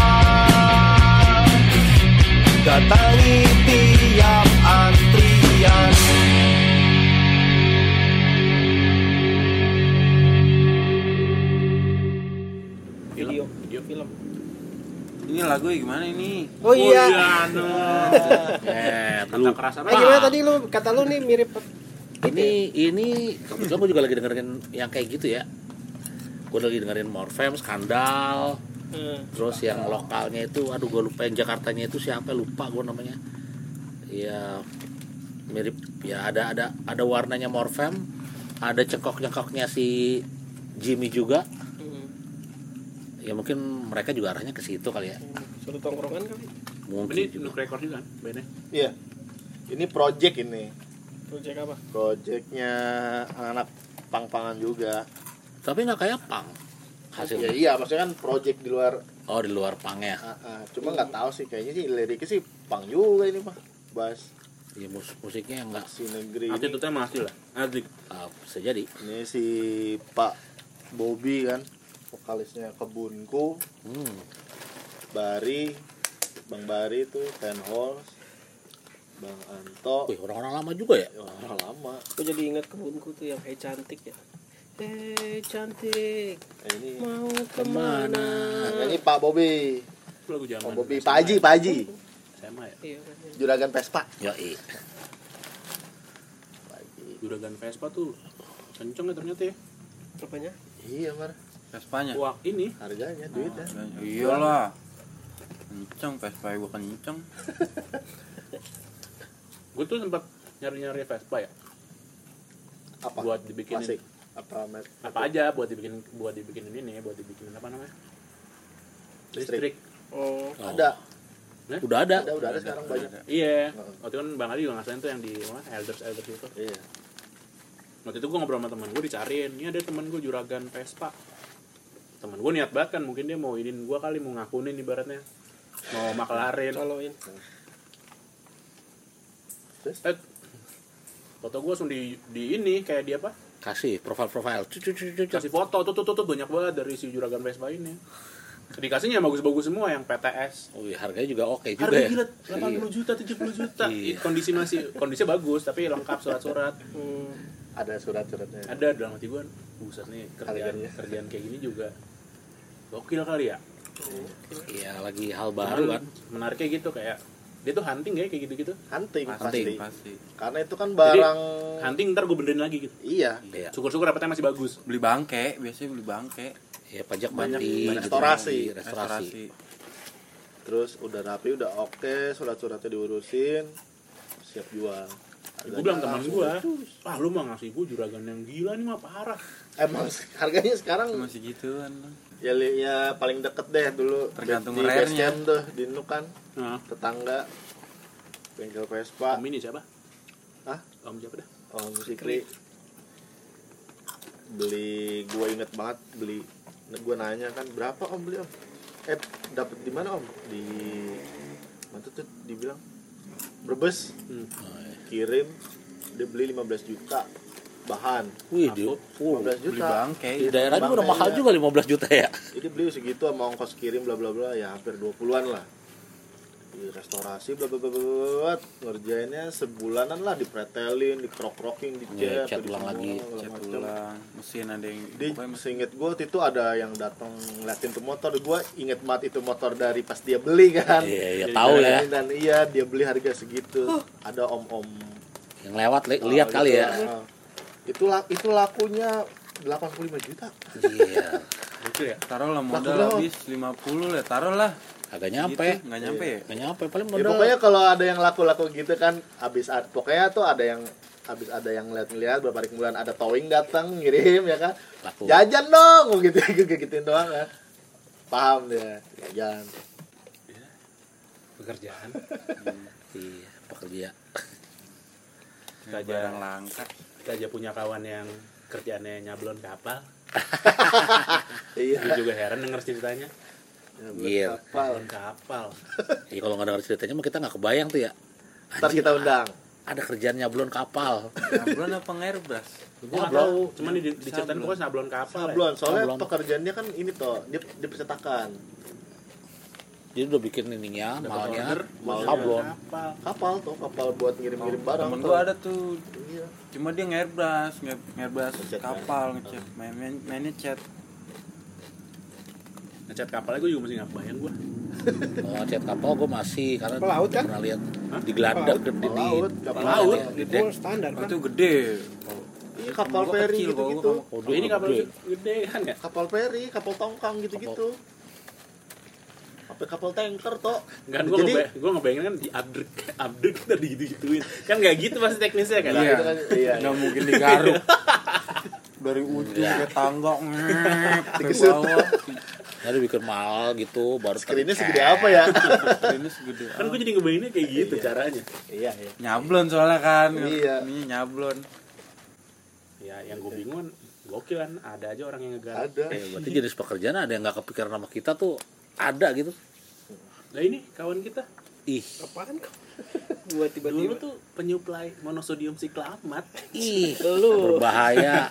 Speaker 3: Datangi tiap antrian
Speaker 2: Video, video Iya. film.
Speaker 5: Ini lagu gimana ini?
Speaker 2: Oh iya.
Speaker 1: Iya, no.
Speaker 6: Eh,
Speaker 1: Kata
Speaker 6: lu
Speaker 1: keras apa?
Speaker 2: Eh gimana tadi lu kata lu nih mirip
Speaker 6: ini ini kebetulan gue juga lagi dengerin yang kayak gitu ya gue lagi dengerin Morfem Skandal
Speaker 2: Hmm.
Speaker 6: terus yang lokalnya itu aduh gue lupa yang Jakartanya itu siapa lupa gue namanya ya mirip ya ada ada ada warnanya Morfem ada cengkok cengkoknya si Jimmy juga
Speaker 2: Hmm.
Speaker 6: ya mungkin mereka juga arahnya ke situ kali ya
Speaker 2: Suatu tongkrongan kali
Speaker 6: mungkin
Speaker 1: Ini
Speaker 6: juga.
Speaker 1: nuk record juga kan bandnya.
Speaker 4: Iya. Ini project ini.
Speaker 2: Project apa?
Speaker 4: Projectnya anak pang-pangan juga.
Speaker 6: tapi nggak kayak pang
Speaker 4: Ya
Speaker 6: hasilnya
Speaker 4: iya, maksudnya kan project di luar
Speaker 6: oh di luar pangnya
Speaker 4: ah, ah. cuma nggak tahu sih kayaknya sih liriknya sih pang juga ini mah. Bas
Speaker 3: Iya,
Speaker 6: ya mus- musiknya yang nggak
Speaker 4: si negeri.
Speaker 1: Nanti
Speaker 4: Ini,
Speaker 1: tutupnya masih lah. Nanti
Speaker 6: uh, bisa jadi
Speaker 4: ini si Pak Bobby kan, vokalisnya Kebunku,
Speaker 6: hmm.
Speaker 4: Bari, Bang Bari itu Ten Halls, Bang Anto,
Speaker 6: Wih, orang-orang lama juga ya
Speaker 4: ya, orang lama.
Speaker 2: Gue jadi ingat kebunku tuh yang Hey cantik ya Hey cantik
Speaker 4: Nah, ini
Speaker 2: mau kemana?
Speaker 4: nah, ini Pak Bobby,
Speaker 1: itu lagu zaman.
Speaker 4: Pak Bobby,
Speaker 1: SMA
Speaker 4: Pak Haji,
Speaker 1: ya.
Speaker 4: Pak Haji,
Speaker 1: SMA ya.
Speaker 2: Iya kan.
Speaker 4: Juragan Pespa.
Speaker 6: ya
Speaker 4: Pak Haji.
Speaker 1: Juragan Vespa tuh kenceng ya ternyata ya.
Speaker 2: Apanya?
Speaker 4: Iya, Mar.
Speaker 5: Vespanya
Speaker 1: Wah ini
Speaker 4: Harganya ya. duitnya.
Speaker 5: Hmm. iyalah kenceng Vespa gue kenceng
Speaker 1: gue tuh sempat nyari-nyari Vespa ya.
Speaker 4: Apa?
Speaker 1: Buat dibikinin
Speaker 4: Klasik. Apa met?
Speaker 1: apa aja buat dibikin buat dibikinin ini buat dibikinin apa namanya
Speaker 4: Listrik.
Speaker 1: listrik.
Speaker 2: Oh,
Speaker 6: Oh.
Speaker 4: Ada.
Speaker 6: udah ada
Speaker 4: Ada udah ada sekarang banyak.
Speaker 1: Iya.
Speaker 4: Heeh.
Speaker 1: Waktu itu kan Bang Ali juga ngasain tuh yang di mana elders elders itu.
Speaker 4: Iya.
Speaker 1: Waktu itu gue ngobrol sama temen gue dicariin. Ini ada temen gue juragan Vespa. Temen gue niat banget kan mungkin dia mau inin gue kali mau ngakunin ibaratnya mau maklarin.
Speaker 2: coloin
Speaker 4: Terus
Speaker 1: Eh, foto gue langsung di, di ini kayak di apa?
Speaker 6: kasih profil-profil Cut, cut, cut, cut, cut.
Speaker 1: Kasih foto tuh tuh tuh, tuh banyak banget dari si juragan Vespa ini. Dikasihnya yang bagus-bagus semua yang PTS.
Speaker 6: Oh, iya, harganya juga oke juga
Speaker 1: Harga
Speaker 6: ya.
Speaker 1: gila 80 juta 70 juta.
Speaker 6: Iya.
Speaker 1: Kondisi masih kondisi bagus tapi lengkap surat-surat.
Speaker 2: Hmm.
Speaker 4: ada surat-suratnya.
Speaker 1: ada dalam hati gue buset nih kerjaan
Speaker 6: ya."
Speaker 4: Harganya.
Speaker 1: kerjaan kayak gini juga gokil kali ya
Speaker 6: Iya, lagi hal baru kan.
Speaker 1: menariknya gitu kayak dia tuh hunting ya kayak gitu gitu
Speaker 4: Hunting pasti.
Speaker 6: Hunting.
Speaker 5: pasti
Speaker 4: Karena itu kan barang
Speaker 6: Oh.
Speaker 1: hunting ntar gue benerin lagi gitu
Speaker 4: iya.
Speaker 6: Iya.
Speaker 1: syukur syukur dapetnya masih bagus
Speaker 5: beli bangke biasanya beli bangke
Speaker 6: Ya pajak
Speaker 1: Banyak-
Speaker 6: mandi,
Speaker 1: banyak
Speaker 6: gitu,
Speaker 4: restorasi.
Speaker 6: mandi, restorasi.
Speaker 5: restorasi
Speaker 4: Terus udah rapi, udah oke, surat-suratnya diurusin, siap jual.
Speaker 1: gue Ya, bilang teman
Speaker 6: ya
Speaker 1: gue ah lu mah ngasih gue juragan yang gila nih mah parah
Speaker 4: Emang harganya sekarang
Speaker 5: masih gituan
Speaker 4: ya, li- ya paling deket deh dulu
Speaker 5: Tergantung
Speaker 4: di base
Speaker 5: rare-nya.
Speaker 4: camp tuh di Nuk kan
Speaker 1: nah
Speaker 4: tetangga bengkel
Speaker 1: om
Speaker 4: Vespa
Speaker 1: ini siapa
Speaker 4: Hah?
Speaker 1: om siapa dah
Speaker 4: Om Sikri beli gua inget banget beli gua nanya kan berapa om beli om eh dapat di mana om di mana tuh dibilang Brebes
Speaker 1: Hmm.
Speaker 4: kirim dia beli 15 juta bahan
Speaker 6: Wih, dia,
Speaker 1: Aku-
Speaker 6: oh,
Speaker 4: 15
Speaker 5: beli
Speaker 4: juta Iya,
Speaker 5: bangke
Speaker 6: di daerah juga udah
Speaker 4: Bangkainya.
Speaker 6: mahal juga 15 juta ya.
Speaker 4: Jadi beli segitu sama ongkos kirim bla bla bla ya hampir 20-an lah. Di restorasi bla bla bla bla, bla, bla, ngerjainnya sebulanan lah dipretelin, dikrok-krokin,
Speaker 6: Iya,
Speaker 4: dicat,
Speaker 6: cat
Speaker 4: di
Speaker 6: ulang
Speaker 4: semua,
Speaker 6: lagi,
Speaker 4: segala
Speaker 5: cat
Speaker 4: macam.
Speaker 5: ulang mesin ada yang
Speaker 4: Di
Speaker 5: pokoknya mesin
Speaker 4: seinget gue itu ada yang datang ngeliatin tuh motor gue inget banget itu motor dari pas dia beli kan
Speaker 6: Iya, iya,
Speaker 4: Jadi
Speaker 6: tahu ya.
Speaker 4: dari- dan iya dia beli harga segitu ada om om
Speaker 6: Yang lewat li-
Speaker 1: Oh,
Speaker 6: lihat
Speaker 1: gitu.
Speaker 6: kali ya.
Speaker 4: Nah, itu la- itu lakunya 85 juta
Speaker 6: Iya.
Speaker 1: gokil ya
Speaker 5: taruh lah modal
Speaker 4: Laku dong.
Speaker 5: habis 50 lah taruh lah
Speaker 6: Agak nyampe.
Speaker 5: Gitu, nggak nyampe ya
Speaker 6: Nggak nyampe paling
Speaker 4: Ya,
Speaker 6: modal.
Speaker 4: pokoknya kalau ada yang laku-laku gitu kan habis ad- pokoknya tuh ada yang habis ada yang lihat-lihat beberapa hari kemudian ada towing datang ngirim ya kan.
Speaker 6: Laku.
Speaker 4: Jajan dong gitu gituin doang kan. Paham dia. Jajan.
Speaker 1: pekerjaan
Speaker 6: Iya, pekerja.
Speaker 1: kita aja
Speaker 5: barang langka
Speaker 1: kita aja punya kawan yang kerjaannya nyablon kapal gue
Speaker 4: Iya.
Speaker 1: juga heran denger ceritanya
Speaker 6: Gila.
Speaker 4: Kapal.
Speaker 1: nyablon kapal
Speaker 6: Iya, kalau nggak dengar ceritanya mah kita nggak kebayang tuh ya.
Speaker 4: Ntar kita undang.
Speaker 6: Ada kerjaannya belum kapal.
Speaker 5: sablon apa airbrush
Speaker 1: gue nggak tahu cuman di, diceritain pokoknya sablon kapal ya.
Speaker 4: Sablon, soalnya
Speaker 6: Sablon.
Speaker 4: pekerjaannya kan ini toh, dia dia percetakan.
Speaker 6: Jadi udah bikin ininya,
Speaker 1: Dapat
Speaker 6: malnya,
Speaker 1: order,
Speaker 4: malnya.
Speaker 6: sablon.
Speaker 1: kapal
Speaker 4: Kapal tuh, kapal buat ngirim-ngirim barang.
Speaker 5: Oh, temen
Speaker 4: tuh.
Speaker 5: gua ada tuh
Speaker 4: Iya.
Speaker 5: cuma dia airbrush airbrush
Speaker 4: Ngecat
Speaker 5: kapal ngecat
Speaker 4: Oh.
Speaker 5: main main mainnya cat
Speaker 1: ngecat kapalnya gue juga masih nggak kebayang gue
Speaker 6: Oh, cat kapal gue masih
Speaker 1: Ah.
Speaker 6: karena
Speaker 2: Kapal laut, kan?
Speaker 6: pernah lihat di geladak di di
Speaker 4: laut, kapal
Speaker 6: laut.
Speaker 2: Itu mah standar kan.
Speaker 5: itu gede
Speaker 4: Iya, kapal gitu.
Speaker 5: Gua
Speaker 4: peri
Speaker 5: kecil, gua-
Speaker 4: gitu-gitu.
Speaker 5: gua-
Speaker 6: Waduh,
Speaker 1: Oh, ini kapal
Speaker 6: gede.
Speaker 1: gede kan ya?
Speaker 4: Kapal peri, kapal tongkang gitu-gitu. Apa kapal tanker toh?
Speaker 1: Kan gue
Speaker 4: Jadi-
Speaker 1: ngebay- gue ngebayangin kan di abdruk abdruk kita digitu-gituin. Kan nggak gitu pasti teknisnya kan.
Speaker 4: Iya. Iya.
Speaker 5: nggak mungkin digaruk dari ujung
Speaker 4: Iya.
Speaker 5: ke tangga ngep, ke
Speaker 4: Dikesut.
Speaker 5: bawah.
Speaker 6: Lalu bikin mahal gitu baru
Speaker 4: Screennya
Speaker 6: ter-
Speaker 4: segede apa ya?
Speaker 5: ini segede
Speaker 1: Kan gue jadi ngebayanginnya kayak gitu caranya.
Speaker 4: iya, iya.
Speaker 5: nyablon soalnya kan
Speaker 4: Iya.
Speaker 5: ini nyablon
Speaker 1: Ya yang gue bingung kan, gokil kan ada aja orang yang ngegarap.
Speaker 4: Ada.
Speaker 6: Ya, berarti jenis pekerjaan ada yang nggak kepikiran sama kita tuh ada gitu.
Speaker 1: Nah ini kawan kita
Speaker 6: Ih,
Speaker 2: Apaan kok? Buat
Speaker 1: dulu
Speaker 2: tiba-tiba.
Speaker 1: tuh penyuplai monosodium siklamat.
Speaker 6: ih,
Speaker 2: Lu
Speaker 6: berbahaya.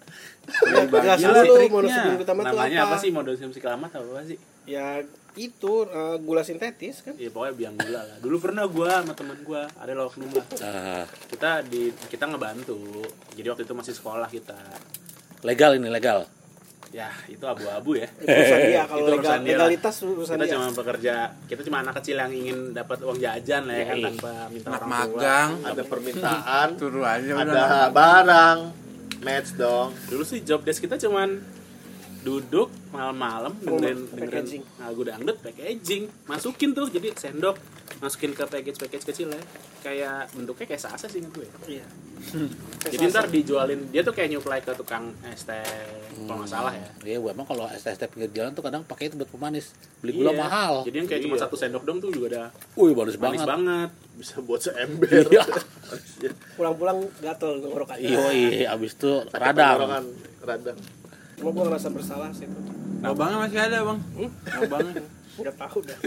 Speaker 2: nggak salah lu mau sebelum utama tuh
Speaker 1: Iya Namanya apa sih monosodium siklamat apa sih?
Speaker 2: Ya itu eh, gula sintetis kan.
Speaker 1: Ya pokoknya biang gula lah. Dulu pernah gue sama teman gue ada lah oknum lah.
Speaker 6: Ah,
Speaker 1: Kita di kita ngebantu. Jadi waktu itu masih sekolah kita.
Speaker 6: legal ini legal.
Speaker 1: Ya itu abu-abu ya.
Speaker 2: Itu urusan dia kalau
Speaker 1: Itu
Speaker 2: legal,
Speaker 1: urusan dia lah.
Speaker 2: legalitas urusan
Speaker 1: kita
Speaker 2: dia.
Speaker 1: cuma bekerja kita cuma anak kecil yang ingin dapat uang jajan lah ya kan
Speaker 6: Yoi.
Speaker 1: tanpa minta orang
Speaker 5: anak
Speaker 1: tua
Speaker 5: magang
Speaker 4: Ada permintaan,
Speaker 5: turun aja ya udah
Speaker 4: ada barang, match dong.
Speaker 1: dulu sih job desk kita cuman duduk malam-malam dengerin dengerin
Speaker 2: packaging.
Speaker 1: lagu dangdut packaging masukin terus jadi sendok masukin ke package package kecil ya kayak bentuknya kayak sasa sih ingat gue
Speaker 2: Iya.
Speaker 1: jadi ntar dijualin dia tuh kayak nyuplai ke tukang es teh kalau nggak salah ya
Speaker 6: Iya, gua emang kalau STST pinggir jalan tuh kadang pakai itu buat pemanis. Beli gula
Speaker 1: Iya.
Speaker 6: mahal.
Speaker 1: jadi yang kayak cuma
Speaker 2: Iya.
Speaker 1: satu sendok dong tuh juga ada
Speaker 6: Wih, bagus
Speaker 1: manis
Speaker 6: banget.
Speaker 1: banget
Speaker 4: Bisa buat seember.
Speaker 6: Iya.
Speaker 2: Pulang-pulang gatel ngorok aja.
Speaker 6: Iya, iya, abis itu
Speaker 4: Tenggorokan,
Speaker 6: radang.
Speaker 4: Radang.
Speaker 2: Cuma gua ngerasa bersalah sih itu.
Speaker 1: Nah,
Speaker 2: Hmm?
Speaker 5: abangnya masih ada bang abangnya
Speaker 2: Udah tahu dah.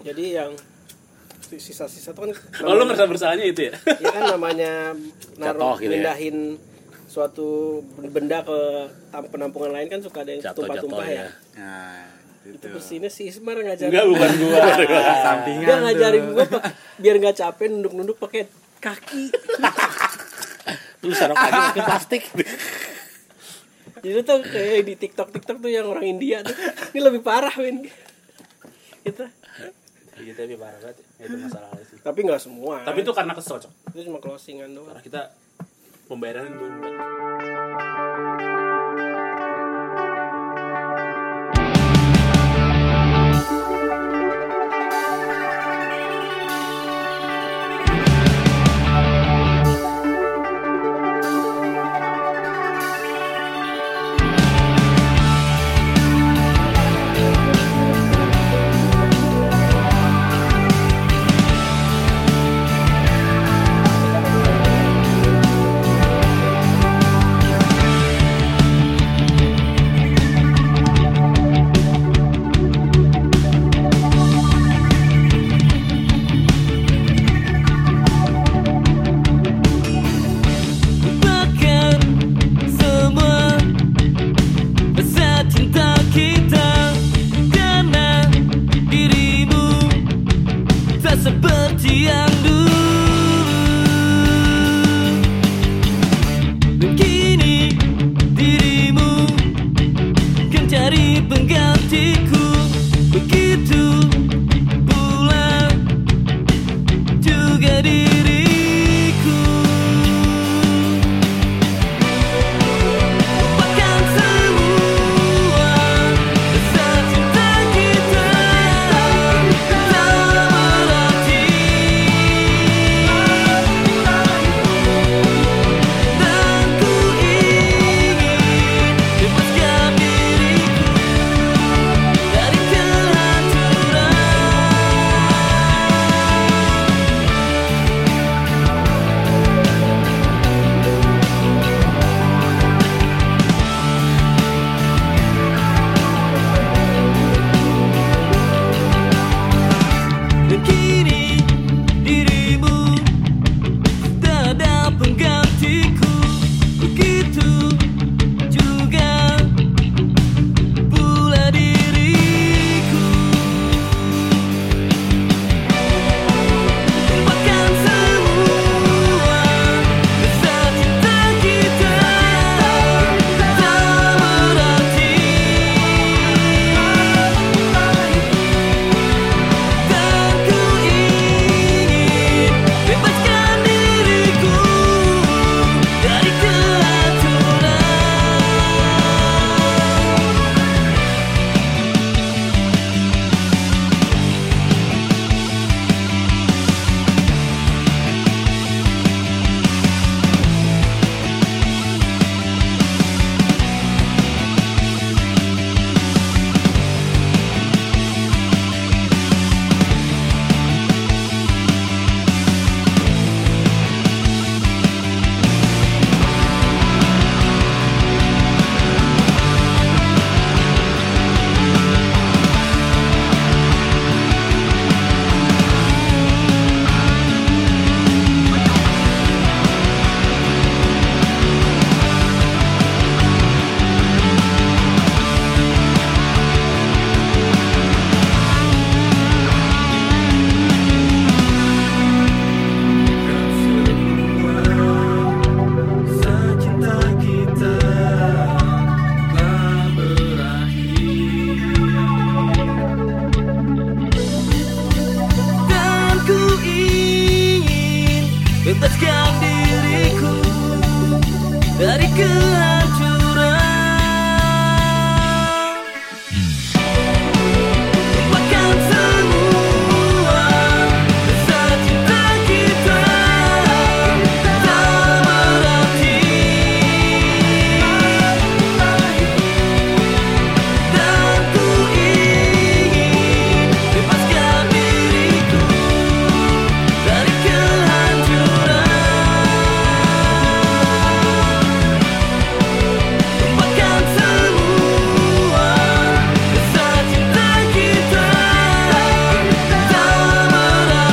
Speaker 2: Jadi yang sisa-sisa tuh kan
Speaker 1: oh lu ngerasa bersalahnya itu ya
Speaker 2: ya kan namanya naruh
Speaker 6: Jatuh gitu ya.
Speaker 2: pindahin suatu benda ke tam- penampungan lain kan suka ada yang
Speaker 6: Jatuh-jatuh
Speaker 2: tumpah-tumpah ya.
Speaker 6: ya.
Speaker 5: nah itu
Speaker 2: Terus ini si Ismar ngajarin.
Speaker 1: enggak bukan gua
Speaker 5: sampingan
Speaker 2: Dia
Speaker 5: tuh.
Speaker 2: ngajarin gua pak- biar nggak capek nunduk-nunduk pakai kaki.
Speaker 6: Lu sarap lagi pakai plastik.
Speaker 2: Jadi tuh kayak di TikTok TikTok tuh yang orang India tuh. Ini lebih parah, Win. Gitu.
Speaker 1: Iya tapi parah banget ya. itu masalahnya sih.
Speaker 2: Tapi nggak semua.
Speaker 1: Tapi itu karena kesel cok.
Speaker 2: itu cuma closingan doang.
Speaker 1: Karena kita pembayaran itu
Speaker 7: kan Bebaskan diriku dari kehancuran Lupakan semua rasa cinta kita Tak berarti Dan ku ingin bebaskan diriku dari kehancuran Lupakan semua Kisah cinta kita Tak berarti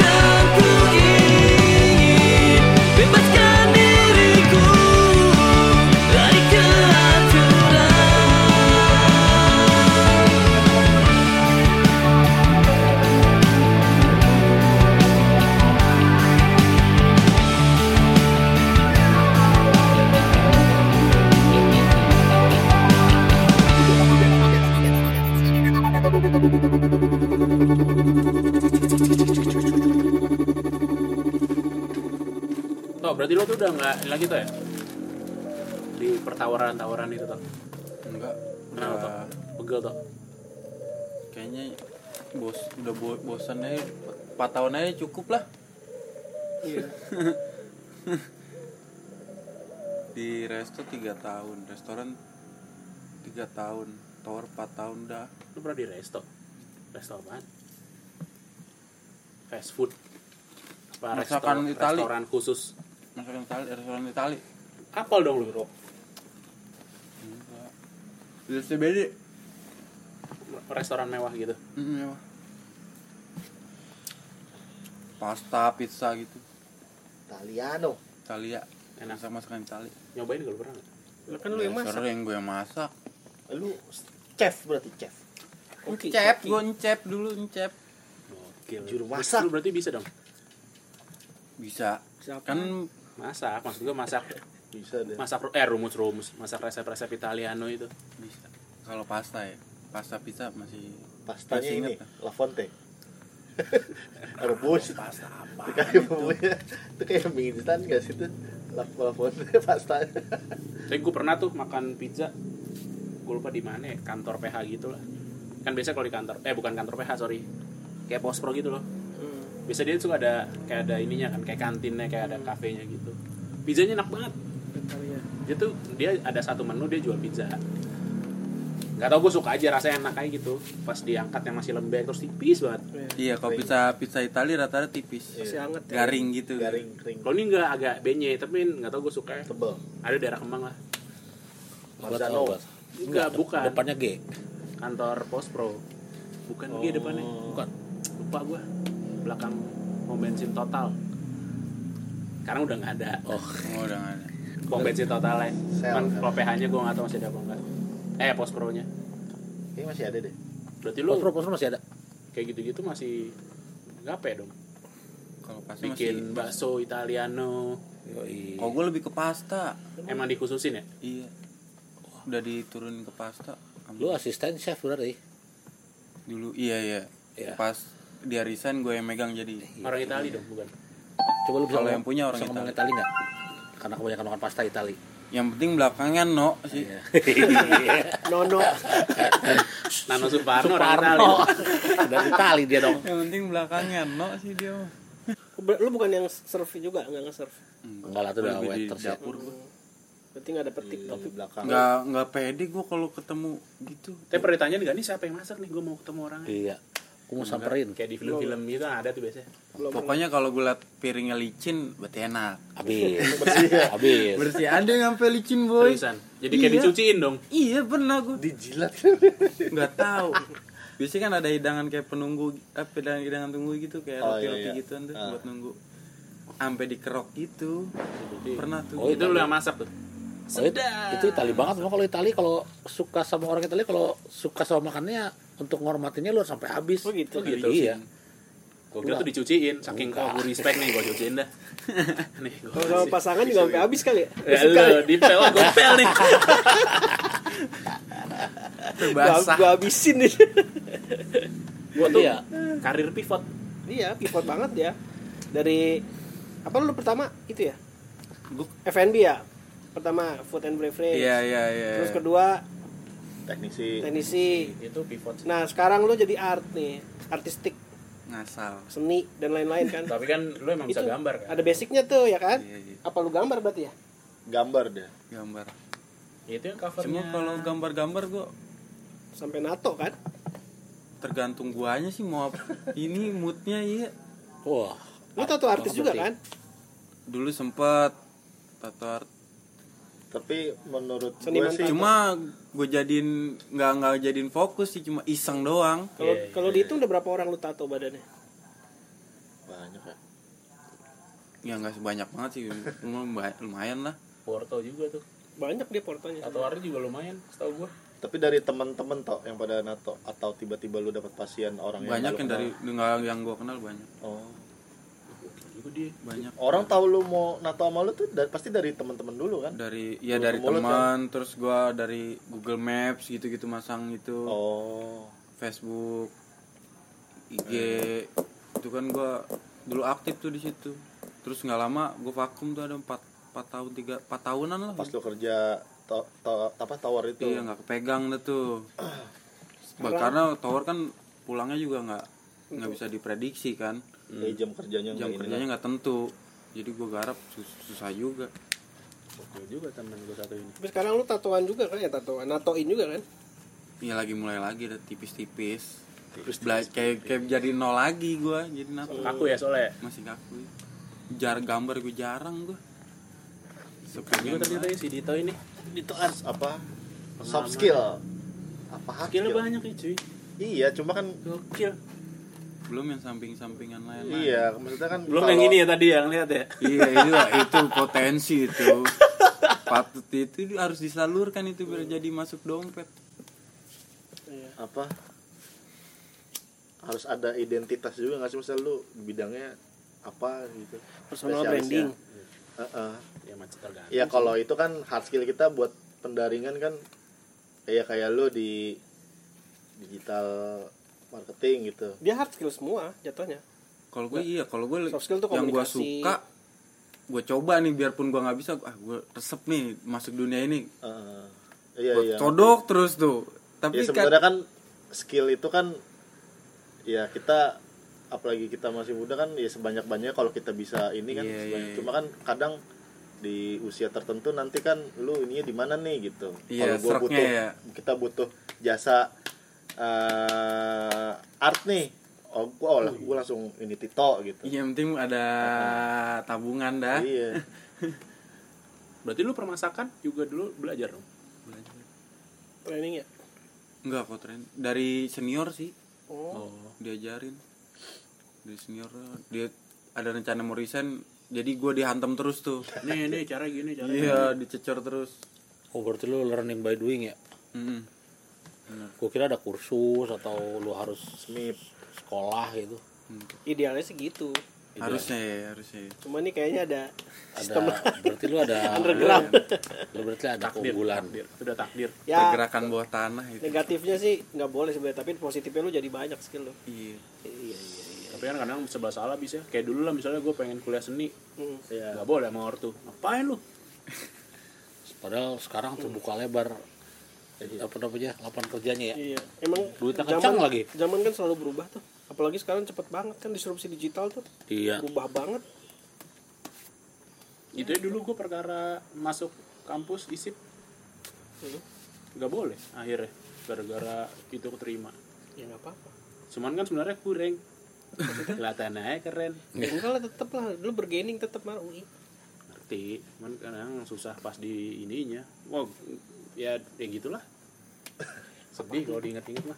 Speaker 7: Dan ku ingin Bebaskan diriku Dari kehancuran
Speaker 1: Toh, berarti lo tuh udah nggak ini lagi tuh ya? Di pertawaran-tawaran itu tuh.
Speaker 5: enggak
Speaker 1: Kenapa
Speaker 5: udah
Speaker 1: tuh? Pegel tuh.
Speaker 5: kayaknya bos udah bo bosannya empat tahun aja cukup lah
Speaker 2: Iya.
Speaker 5: di resto tiga tahun restoran tiga tahun tower empat tahun dah
Speaker 1: Lo pernah di resto? Resto apaan? Fast food. Apa resto-
Speaker 5: Masakan Itali.
Speaker 1: restoran khusus?
Speaker 5: masakan Itali restoran Itali
Speaker 1: Apal dong lo, bro.
Speaker 5: enggak di CBD
Speaker 1: Restoran mewah gitu.
Speaker 5: Mm, iya, Pak. pasta pizza gitu
Speaker 4: Italiano
Speaker 5: Italia
Speaker 1: Enak.
Speaker 5: enak sama masakan Itali
Speaker 1: Nyobain gak lo pernah? nggak?
Speaker 2: Lah kan lu yang masak.
Speaker 5: Restoran yang gue yang masak
Speaker 4: lu chef berarti chef
Speaker 2: Oke.
Speaker 5: Cep, gue ngecep dulu ngecep
Speaker 1: Gokil.
Speaker 4: Juru masak.
Speaker 1: Lo berarti bisa dong?
Speaker 5: Bisa
Speaker 2: Siapa?
Speaker 5: Kan
Speaker 1: Masak. Maksud gue masak.
Speaker 4: bisa deh
Speaker 1: Masak eh rumus-rumus. Masak resep-resep Italiano itu.
Speaker 5: bisa Kalau pasta ya Pasta pizza masih
Speaker 4: pastanya
Speaker 5: masih
Speaker 4: ini
Speaker 5: inget lah.
Speaker 4: La Fonte rebus
Speaker 5: Pasta apa
Speaker 4: itu kayak bumbunya itu kayak mie instan gak sih tuh La, La Fonte pastanya
Speaker 1: Tapi gue pernah tuh makan pizza. Gue lupa di mana ya, kantor PH gitu lah. Kan biasa kalau di kantor, eh bukan kantor PH, sorry. Kayak pospro gitu loh.
Speaker 2: Hmm.
Speaker 1: Biasa dia suka ada kayak ada ininya kan, kayak kantinnya, kayak ada kafenya gitu. Pizzanya enak banget.
Speaker 2: ya.
Speaker 1: Dia tuh dia ada satu menu dia jual pizza. Gak tau gue suka aja rasanya enak kayak gitu. Pas diangkat yang masih lembek terus tipis banget.
Speaker 5: Iya kalau pizza pizza Itali rata-rata tipis
Speaker 2: Masih hangat ya.
Speaker 5: Garing gitu
Speaker 4: garing kering
Speaker 1: Kalau ini nggak agak benye, tapi nggak tau gue suka.
Speaker 4: tebel
Speaker 1: Ada daerah kembang lah.
Speaker 4: Marzano
Speaker 1: Enggak, bukan.
Speaker 6: Depannya G.
Speaker 1: Kantor pospro. Bukan dia depannya.
Speaker 6: Bukan.
Speaker 1: lupa gue belakang pom bensin total karena udah nggak ada
Speaker 6: Oh,
Speaker 5: Oh udah gak ada
Speaker 1: pom bensin totalnya
Speaker 4: Sel,
Speaker 1: kan
Speaker 4: kan?
Speaker 1: kalau PH nya gue nggak tahu masih ada apa enggak eh pos pro nya
Speaker 4: ini masih ada deh
Speaker 1: berarti lu
Speaker 6: lu proposal masih ada.
Speaker 1: kayak gitu gitu masih gape dong
Speaker 5: Kalau pasta
Speaker 1: bikin
Speaker 5: masih
Speaker 1: bakso Italiano
Speaker 6: Yoi.
Speaker 5: Kalau gue lebih ke pasta
Speaker 1: emang dikhususin ya
Speaker 5: Iya Udah diturunin ke pasta
Speaker 6: Lu asisten chef berarti.
Speaker 5: Dulu iya iya
Speaker 6: Iya.
Speaker 5: Pas dia resign gue yang megang jadi
Speaker 1: orang Itali dong bukan
Speaker 6: Coba lu bisa
Speaker 5: Kalau
Speaker 6: ngomong-
Speaker 5: yang punya orang
Speaker 6: bisa ngomong Itali nggak? Karena kebanyakan makan pasta Itali.
Speaker 5: Yang penting belakangnya no sih
Speaker 6: Iya.
Speaker 2: Nono.
Speaker 1: Nano Suparno orang Itali
Speaker 6: Parno. Dari Itali dia dong.
Speaker 5: Yang penting belakangnya no sih dia mah.
Speaker 2: Lu bukan yang serve juga, enggak nge-serve.
Speaker 6: Enggak lah, itu udah
Speaker 5: Lebih di
Speaker 6: waiters ya.
Speaker 5: dapur gue
Speaker 2: Berarti enggak ada petik
Speaker 6: Iya.
Speaker 2: dong.
Speaker 4: di belakang
Speaker 5: nggak nggak pede gue kalau ketemu gitu
Speaker 1: tapi pernah ditanya nggak nih siapa yang masak nih gue mau ketemu orangnya
Speaker 6: Iya. Aku mau samperin.
Speaker 1: kayak di film-film gitu ada tuh biasanya
Speaker 5: pokoknya kalau gue liat piringnya licin berarti enak Iya.
Speaker 6: Habis. Habis.
Speaker 5: bersih ada yang sampai licin boy
Speaker 1: tulisan jadi kayak
Speaker 5: Iya.
Speaker 1: dicuciin dong
Speaker 5: iya pernah gue
Speaker 4: dijilat
Speaker 5: nggak tahu biasanya kan ada hidangan kayak penunggu apa hidangan hidangan tunggu gitu kayak
Speaker 4: Oh,
Speaker 5: roti
Speaker 4: iya,
Speaker 5: roti
Speaker 4: iya.
Speaker 5: gituan tuh
Speaker 4: Ah.
Speaker 5: buat nunggu sampai dikerok gitu pernah tuh
Speaker 6: Oh,
Speaker 1: Gitu. itu lu yang masak tuh
Speaker 6: Oh, itu, itu Itali banget. Emang kalau Itali kalau suka sama orang Itali kalau suka sama makannya untuk menghormatinya lu harus sampai habis.
Speaker 2: Oh, gitu.
Speaker 6: Iya.
Speaker 1: Gue kira tuh dicuciin, saking kok gue respect nih, gue cuciin dah. Nih, gue
Speaker 2: Kalau sama pasangan juga sampai habis kali ya.
Speaker 1: Ya lu, di pel, gue pel nih.
Speaker 2: Gua,
Speaker 5: basah
Speaker 2: gua habisin nih.
Speaker 1: Gua tuh
Speaker 6: Iya.
Speaker 1: karir pivot.
Speaker 2: Iya, pivot banget ya. Dari apa lu pertama itu ya?
Speaker 1: Gua-
Speaker 2: F&B ya. Pertama food and beverage.
Speaker 5: Iya iya iya.
Speaker 2: Terus kedua
Speaker 1: Teknisi.
Speaker 2: teknisi.
Speaker 1: Itu pivot. sih.
Speaker 2: Nah, sekarang lu jadi art nih, artistik,
Speaker 5: Ngasal.
Speaker 2: seni dan lain-lain kan.
Speaker 1: Tapi kan lu emang bisa
Speaker 2: Itu
Speaker 1: gambar kan?
Speaker 2: Ada basicnya tuh ya kan?
Speaker 5: Iya iya.
Speaker 2: Apa lu gambar berarti ya?
Speaker 4: gambar deh
Speaker 5: Gambar.
Speaker 1: Itu yang covernya.
Speaker 5: Cuma kalau gambar-gambar gua
Speaker 2: Sampai NATO kan?
Speaker 5: tergantung guanya sih mau apa. ini moodnya iya.
Speaker 6: Wah,
Speaker 2: Lu tato artis juga kan?
Speaker 5: Dulu sempet tato art.
Speaker 4: tapi menurut gue
Speaker 2: Seniman
Speaker 4: sih
Speaker 5: Cuma gue jadiin nggak nggak jadiin fokus sih cuma iseng doang.
Speaker 2: Kalau
Speaker 1: Iya, iya,
Speaker 2: kalau dihitung udah berapa orang lu tato badannya?
Speaker 4: banyak ya
Speaker 5: Ya nggak sebanyak banget sih. Lumayan, lumayan lah.
Speaker 1: Porto juga tuh.
Speaker 2: Banyak dia portonya.
Speaker 1: Tatoannya juga lumayan, setahu gua.
Speaker 4: tapi dari teman-teman toh yang pada nato atau tiba-tiba lu dapat pasien orang
Speaker 5: Banyak
Speaker 4: lu
Speaker 5: yang dari
Speaker 4: kenal.
Speaker 5: nggak- yang gue kenal banyak.
Speaker 4: oh.
Speaker 1: Itu dia.
Speaker 5: Banyak.
Speaker 4: orang tahu lu mau nato sama lu tuh da- pasti dari teman-teman dulu kan
Speaker 5: dari ya
Speaker 4: Mulut
Speaker 5: dari
Speaker 4: ke mulut
Speaker 5: teman terus gua dari Google Maps gitu-gitu masang gitu
Speaker 4: oh
Speaker 5: Facebook IG
Speaker 4: Iya.
Speaker 5: itu kan gua dulu aktif tuh di situ terus nggak lama gue vakum tuh ada empat empat tahun tiga empat tahunan lah
Speaker 4: pas lu kerja to, to- apa tower itu
Speaker 5: iya nggak kepegang dah tuh Bah, karena tower kan pulangnya juga nggak nggak bisa diprediksi kan
Speaker 4: Dari eh, jam kerjanya
Speaker 5: jam
Speaker 4: nggak ini
Speaker 5: kerjanya nggak tentu jadi gue garap sus- susah juga
Speaker 1: Gua juga temen gua satu ini.
Speaker 2: Tapi sekarang lu tatoan juga kan ya tatoan, natoin juga kan?
Speaker 5: ya lagi mulai lagi dah tipis-tipis
Speaker 4: Terus
Speaker 5: Bela- kayak kayak jadi nol lagi gue jadi nato
Speaker 1: Kaku ya soalnya.
Speaker 5: masih kaku jar gambar gue jarang gue
Speaker 1: Juga
Speaker 5: sepengen
Speaker 1: tadi
Speaker 5: banget.
Speaker 1: tadi si Dito ini.
Speaker 4: itu art apa soft skill apa hard
Speaker 1: Skill
Speaker 4: skill
Speaker 1: banyak ya cuy.
Speaker 4: iya cuma kan
Speaker 1: Gokil.
Speaker 5: belum yang samping-sampingan lain
Speaker 4: iya maksudnya kan
Speaker 1: Belum
Speaker 4: kalau-
Speaker 1: yang ini ya tadi yang lihat ya.
Speaker 5: iya itu itu potensi itu patut itu harus disalurkan itu biar jadi masuk dompet
Speaker 2: Iya.
Speaker 4: apa harus ada identitas juga nggak sih misal lu bidangnya apa gitu
Speaker 2: Personal
Speaker 4: Spesialis
Speaker 2: branding.
Speaker 4: ya. Heeh.
Speaker 1: Ya macet tergantung.
Speaker 4: ya kalau itu kan hard skill kita buat pendaringan kan kayak kayak lu di digital marketing gitu
Speaker 2: Dia hard skill semua jatuhnya.
Speaker 5: kalau gue iya kalau gue
Speaker 2: Ya, Soft skill tuh
Speaker 5: yang gue
Speaker 2: komunikasi.
Speaker 5: suka gue coba nih biarpun gue nggak bisa ah gue resep nih masuk dunia ini
Speaker 4: Heeh. iya
Speaker 5: Gua
Speaker 4: iya
Speaker 5: codok terus tuh
Speaker 4: ya
Speaker 5: tapi kan
Speaker 4: sebenarnya kan skill itu kan ya kita apalagi kita masih muda kan ya sebanyak banyaknya kalau kita bisa ini kan
Speaker 5: Iya,
Speaker 4: sebanyak-
Speaker 5: iya.
Speaker 4: cuma kan kadang di usia tertentu nanti kan lu ininya di mana nih gitu kalau
Speaker 5: Iya,
Speaker 4: gua
Speaker 5: seraknya
Speaker 4: butuh
Speaker 5: ya.
Speaker 4: kita butuh jasa eh, art nih oh gua oh lah gua langsung ini Tito gitu
Speaker 5: iya, yang penting ada tabungan dah
Speaker 4: iya
Speaker 1: Berarti lu permasakan juga dulu belajar dong.
Speaker 2: Training ya.
Speaker 5: Enggak kok tren dari senior sih
Speaker 2: Oh.
Speaker 5: diajarin dari senior dia ada rencana mau resign jadi gue dihantam terus tuh
Speaker 1: Nih nih cara gini cara.
Speaker 2: Ya.
Speaker 5: iya dicecer terus
Speaker 6: oh berarti lu learning by doing ya?
Speaker 5: Mm-mm.
Speaker 6: Gue kira ada kursus atau lu harus
Speaker 4: Smith
Speaker 6: sekolah gitu.
Speaker 2: Idealnya sih gitu.
Speaker 5: harusnya ya harusnya ya.
Speaker 2: Cuma nih kayaknya ada
Speaker 6: Ada berarti lu ada
Speaker 2: underground.
Speaker 6: Lu berarti ada keunggulan.
Speaker 1: Takdir. Udah takdir.
Speaker 2: ya
Speaker 5: pergerakan bawah tanah itu
Speaker 2: negatifnya sih nggak boleh sebenarnya tapi positifnya lu jadi banyak skill lu.
Speaker 5: iya
Speaker 1: Tapi kan kadang sebelah salah bisa. Kayak dulu lah misalnya gua pengen kuliah seni.
Speaker 2: Hmm.
Speaker 1: Ya.
Speaker 6: Iya.
Speaker 1: Gak boleh sama ortu. Ngapain lu?
Speaker 6: Padahal sekarang terbuka lebar apa namanya lapangan kerjanya ya.
Speaker 2: Iya. Emang
Speaker 6: Duitnya
Speaker 2: zaman
Speaker 6: kencang lagi.
Speaker 2: Zaman kan selalu berubah tuh. Apalagi sekarang cepet banget kan disrupsi digital tuh.
Speaker 6: Iya.
Speaker 2: Berubah banget.
Speaker 1: Itu ya dulu gua perkara masuk kampus isip.
Speaker 2: Hmm.
Speaker 1: Gak boleh akhirnya. Gara-gara itu keterima.
Speaker 2: Ya nggak apa-apa.
Speaker 1: Cuman kan sebenarnya kurang. Kelihatan aja keren.
Speaker 2: Enggak lah tetep lah. Lu bergaining tetep lah UI.
Speaker 1: ngerti cuman kadang susah pas di ininya wah ya ya gitulah sedih kalau diinget-inget lah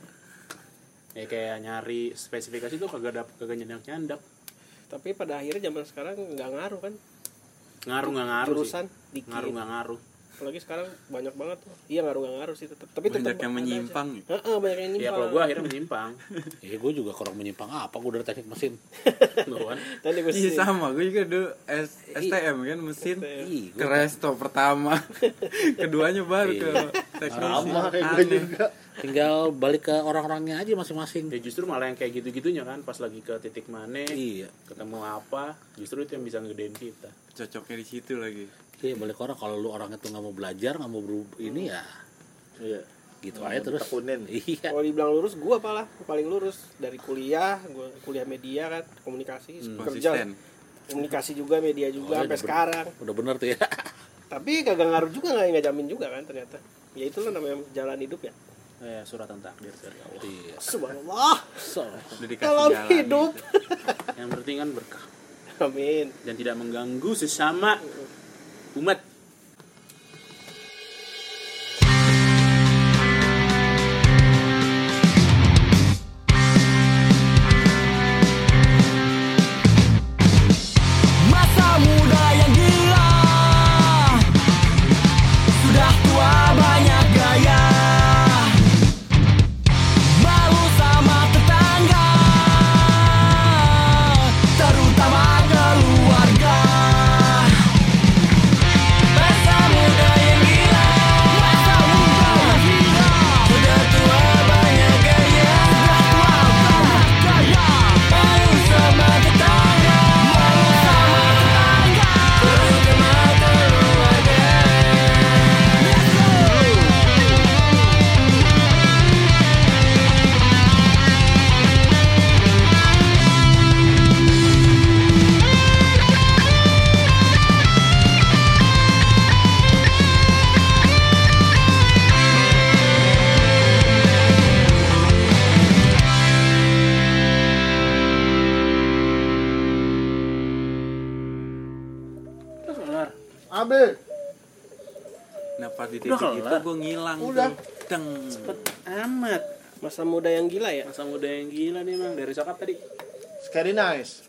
Speaker 1: ya kayak nyari spesifikasi tuh kagak ada kagak nyendak nyendak
Speaker 2: Tapi pada akhirnya zaman sekarang nggak ngaruh kan
Speaker 1: ngaruh nggak ngaruh
Speaker 2: jurusan
Speaker 1: sih.
Speaker 2: dikit.
Speaker 1: ngaruh nggak ngaruh
Speaker 2: apalagi sekarang banyak banget tuh iya ngaruh nggak ngaruh sih tetap tapi tetap
Speaker 5: banyak yang menyimpang ya.
Speaker 2: Heeh, banyak yang
Speaker 1: ya
Speaker 2: nyimpang
Speaker 1: kalau gue akhirnya menyimpang
Speaker 6: ya gue juga kurang menyimpang apa gue dari teknik mesin
Speaker 1: Nuan.
Speaker 2: tadi gue
Speaker 5: Iya sama, gue juga dulu S-
Speaker 2: Iya.
Speaker 5: STM kan mesin
Speaker 4: Iya,
Speaker 6: Ih,
Speaker 5: ke resto pertama, keduanya baru ke
Speaker 2: Iya.
Speaker 4: sama
Speaker 5: teknologi.
Speaker 4: kayak gue juga
Speaker 6: tinggal balik ke orang-orangnya aja masing-masing
Speaker 1: ya justru malah yang kayak gitu-gitunya kan pas lagi ke titik mana
Speaker 6: iya
Speaker 1: ketemu apa justru itu yang bisa ngegedein kita
Speaker 5: Cocoknya di situ lagi.
Speaker 6: iya balik ke orang kalau lu orangnya tuh nggak mau belajar nggak mau berubah ini ya
Speaker 4: iya
Speaker 6: gitu aja terus
Speaker 4: ditekunin.
Speaker 6: iya
Speaker 2: kalau dibilang lurus gue apalah paling lurus dari kuliah gue kuliah media kan komunikasi kerja
Speaker 5: Konsisten.
Speaker 2: komunikasi juga media juga sampai sekarang
Speaker 6: udah bener tuh ya
Speaker 2: tapi kagak ngaruh juga nggak nggak jamin juga kan ternyata ya itulah namanya jalan hidup ya
Speaker 1: eh, suratan takdir dari Allah
Speaker 6: iya
Speaker 2: subhanallah
Speaker 6: so
Speaker 5: Udah dikasih
Speaker 2: dalam
Speaker 5: jalan. gitu.
Speaker 2: hidup
Speaker 1: yang penting kan berkah
Speaker 2: amin
Speaker 1: dan tidak mengganggu sesama umat
Speaker 7: Masa muda yang gila Sudah tua banyak gaya Malu sama tetangga Terutama keluarga Masa muda yang gila Masa muda yang gila Sudah tua banyak gaya Sudah tua banyak gaya Malu sama tetangga Malu sama tetangga Terutama keluarga
Speaker 4: abe
Speaker 5: Nah pas di titik itu gue ngilang.
Speaker 4: Udah.
Speaker 5: tuh. Deng.
Speaker 1: amat
Speaker 2: masa muda yang gila ya
Speaker 1: masa muda yang gila nih bang dari sokap tadi
Speaker 4: scary nice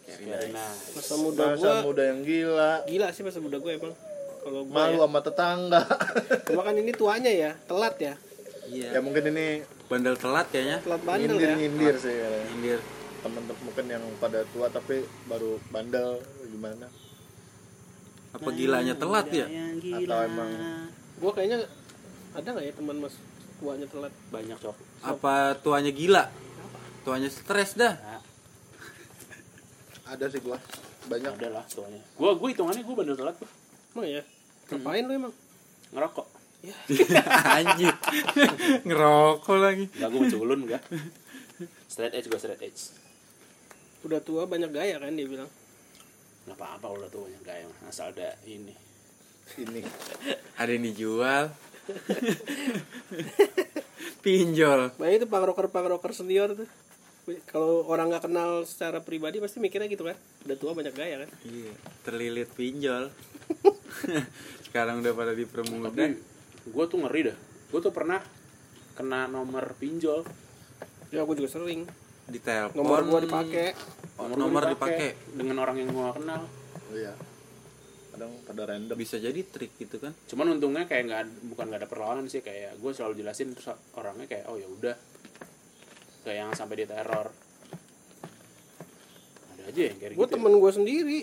Speaker 1: nah
Speaker 2: masa muda gue
Speaker 4: masa muda yang gila
Speaker 2: gila sih masa muda gue emang kalau gue
Speaker 4: malu
Speaker 2: ya.
Speaker 4: sama tetangga
Speaker 2: cuma kan ini tuanya ya telat ya
Speaker 4: ya
Speaker 5: Iya.
Speaker 4: mungkin ini
Speaker 5: Bandel telat kayaknya.
Speaker 2: telat bandel
Speaker 4: nyindir
Speaker 2: ya
Speaker 4: nyindir sih kayaknya.
Speaker 5: Nyindir.
Speaker 4: temen-temen mungkin yang pada tua tapi baru bandel gimana
Speaker 5: Apa
Speaker 2: Nah,
Speaker 5: gilanya telat ya?
Speaker 4: atau emang
Speaker 2: gue kayaknya ada nggak ya teman mas tuanya telat
Speaker 1: banyak cok
Speaker 5: Apa tuanya gila? Tuanya stres dah.
Speaker 4: ada sih gua banyak
Speaker 1: ada lah soalnya gue gue hitungannya gue bandel telat gua.
Speaker 2: emang ya ngapain lu emang
Speaker 1: ngerokok
Speaker 5: Anjir. Ngerokok lagi.
Speaker 1: Enggak, gue culun enggak straight edge gue straight edge
Speaker 2: udah tua banyak gaya kan dia bilang
Speaker 1: nggak apa-apa kalau udah ya. tuanya gaya asal ada ini
Speaker 4: ini
Speaker 5: Ada yang dijual. Pinjol.
Speaker 2: banyak itu punk rocker punk rocker senior tuh kalau orang nggak kenal secara pribadi pasti mikirnya gitu kan udah tua banyak gaya kan
Speaker 5: Iya, terlilit pinjol. Sekarang udah pada dipermudah.
Speaker 1: tapi gue tuh ngeri dah gue tuh pernah kena nomor pinjol
Speaker 2: ya aku juga sering
Speaker 5: Ditelepon.
Speaker 2: nomor gua dipakai
Speaker 5: Oh,
Speaker 1: gua
Speaker 5: nomor dipakai.
Speaker 1: dengan orang yang gua nggak kenal
Speaker 4: iya kadang pada random
Speaker 5: Bisa jadi trik gitu kan.
Speaker 1: cuman untungnya kayak nggak bukan nggak ada perlawanan sih kayak gue selalu jelasin terus orangnya kayak oh ya udah kayak yang sampai dia teror ada aja yang kayak
Speaker 2: gue
Speaker 1: gitu
Speaker 2: temen gue sendiri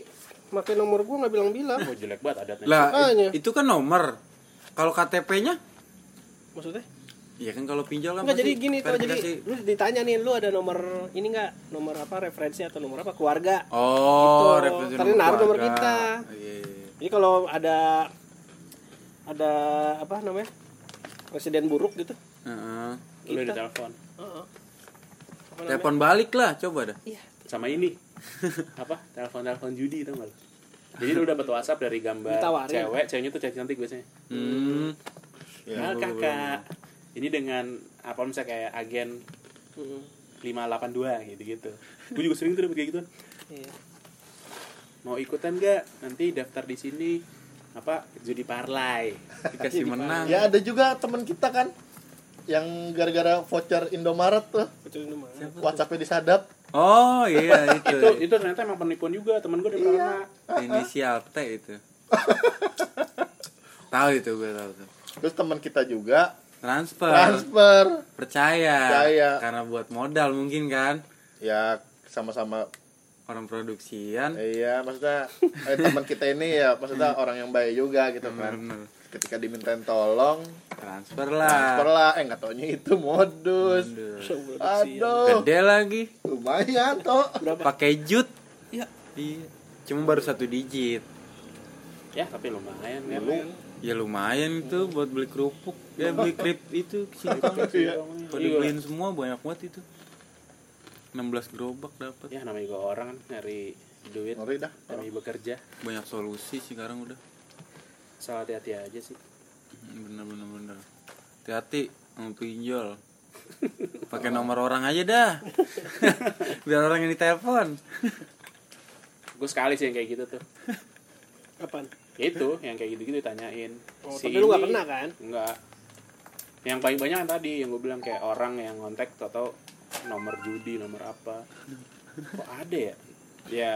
Speaker 2: pakai nomor gue nggak bilang-bilang
Speaker 1: ya. Oh, jelek banget adatnya
Speaker 5: Lah,
Speaker 2: Nah, Makanya.
Speaker 5: i- itu kan nomor. Kalau KTP-nya?
Speaker 2: maksudnya
Speaker 5: Ya kan kalau pinjol kan
Speaker 2: Enggak jadi
Speaker 5: pasti
Speaker 2: gini tuh jadi
Speaker 5: verifikasi.
Speaker 2: lu ditanya nih lu ada nomor ini enggak nomor apa referensi atau nomor apa keluarga.
Speaker 5: Oh,
Speaker 2: Gitu.
Speaker 5: referensi
Speaker 2: Tadi naruh nomor
Speaker 5: keluarga.
Speaker 2: kita.
Speaker 5: Iya, iya, iya.
Speaker 2: Jadi kalau ada ada apa namanya? presiden buruk gitu.
Speaker 5: Heeh.
Speaker 1: lu ditelepon
Speaker 2: Heeh. Apa namanya?
Speaker 5: Telepon balik lah, coba dah.
Speaker 2: Iya.
Speaker 1: sama ini apa telepon telepon judi tau gak lu jadi lu dapat WhatsApp dari gambar
Speaker 2: Ditawarin.
Speaker 1: cewek ceweknya tuh cantik cantik biasanya
Speaker 5: Hmm.
Speaker 1: nah kakak ini dengan apa misalnya kayak agen
Speaker 2: Heeh.
Speaker 1: 582 gitu gitu gue juga sering tuh dapet kayak gitu
Speaker 2: Iya.
Speaker 1: mau ikutan gak nanti daftar di sini apa judi parlay
Speaker 5: Dikasih
Speaker 1: Iya.
Speaker 5: menang.
Speaker 4: ya ada juga teman kita kan yang gara-gara voucher Indomaret tuh
Speaker 2: Betul ini mah.
Speaker 4: WhatsAppnya disadap
Speaker 5: Oh, iya itu.
Speaker 1: itu itu ternyata
Speaker 2: Iya.
Speaker 1: emang penipuan juga temen gue dari mana
Speaker 5: Inisial T itu. tahu itu gue tahu tuh
Speaker 4: terus teman kita juga
Speaker 5: transfer,
Speaker 4: transfer
Speaker 5: Percaya.
Speaker 4: Percaya.
Speaker 5: karena buat modal mungkin kan
Speaker 4: ya sama-sama
Speaker 5: orang produksian
Speaker 4: iya maksudnya eh, teman kita ini ya maksudnya orang yang baik juga gitu kan
Speaker 5: bener-bener
Speaker 4: ketika dimintain tolong
Speaker 5: transfer
Speaker 4: transfer
Speaker 5: lah
Speaker 4: lah eh nggak taunya itu modus
Speaker 5: Aduh.
Speaker 4: aduh
Speaker 5: gede lagi
Speaker 4: lumayan toh
Speaker 2: berapa
Speaker 5: pakai jut ya iya cuma baru satu digit
Speaker 1: ya tapi lumayan ya
Speaker 5: ya lumayan tuh buat beli kerupuk ya beli krip itu kesini banget
Speaker 4: Iya.
Speaker 5: kalau dibeliin semua banyak banget itu 16 gerobak dapat
Speaker 1: ya namanya juga orang kan nyari duit
Speaker 4: ngeri dah
Speaker 1: demi bekerja
Speaker 5: banyak solusi sih sekarang udah
Speaker 1: soal hati-hati aja sih
Speaker 5: bener bener bener hati-hati mau pinjol pakai nomor orang aja dah biar orang yang ditelepon
Speaker 1: gue sekali sih yang kayak gitu tuh
Speaker 2: kapan
Speaker 1: Ya itu yang kayak gitu-gitu tanyain
Speaker 2: oh, tapi lu nggak
Speaker 1: ini-
Speaker 2: kena kan
Speaker 1: Enggak. Yang paling banyak kan tadi yang gue bilang kayak orang yang kontak atau nomor judi, nomor apa. Kok ada ya? Ya,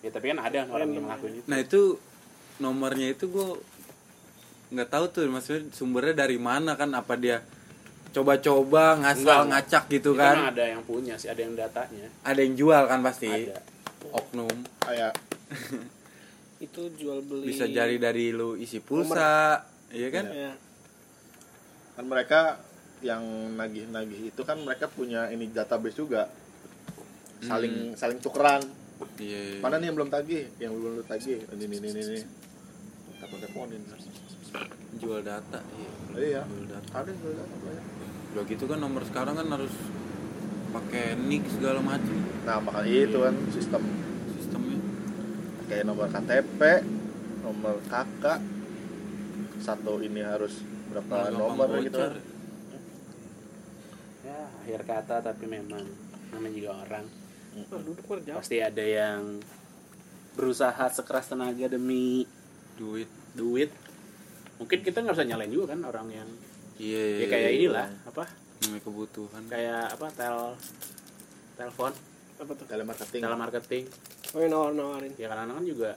Speaker 1: ya tapi kan ada orang yang mengakuin itu.
Speaker 5: nah itu nomornya itu gue nggak tahu tuh maksudnya sumbernya dari mana kan apa dia coba-coba
Speaker 1: Enggak,
Speaker 5: ngasal
Speaker 1: enggak.
Speaker 5: ngacak gitu
Speaker 1: Itu
Speaker 5: kan
Speaker 1: kan ada yang punya sih, ada yang datanya.
Speaker 5: ada yang jual kan pasti
Speaker 1: Ada.
Speaker 5: oknum
Speaker 4: kayak
Speaker 2: itu jual beli
Speaker 5: bisa jadi dari lu isi pulsa iya kan
Speaker 2: ya.
Speaker 4: kan mereka yang nagih-nagih itu kan mereka punya ini database juga saling saling tukeran
Speaker 5: iya iya.
Speaker 4: mana nih yang belum tagih yang belum lu tagih ini ini ini ini takut teleponin
Speaker 5: jual data iya
Speaker 4: iya
Speaker 5: jual data
Speaker 4: ada yang belum datang, banyak.
Speaker 5: udah gitu kan nomor sekarang kan harus pakai nick segala macam
Speaker 4: nah makanya itu kan sistem
Speaker 5: sistemnya
Speaker 4: kayak nomor KTP nomor KK satu ini harus berapa
Speaker 5: Gampang
Speaker 4: nomor
Speaker 5: bocor.
Speaker 4: gitu kan.
Speaker 1: Ya, akhir kata tapi memang namanya juga orang.
Speaker 2: Oh, duduk kerja
Speaker 1: Pasti ada yang berusaha sekeras tenaga demi
Speaker 5: duit
Speaker 1: duit. Mungkin kita nggak bisa nyalain juga kan orang yang
Speaker 5: iya
Speaker 1: ya kayak inilah apa
Speaker 5: namanya kebutuhan
Speaker 1: kayak apa tel telepon
Speaker 2: apa tuh
Speaker 4: telemarketing
Speaker 5: Iya.
Speaker 1: telemarketing
Speaker 2: oh yang nawar nawarin
Speaker 1: ya kadang-kadang kan juga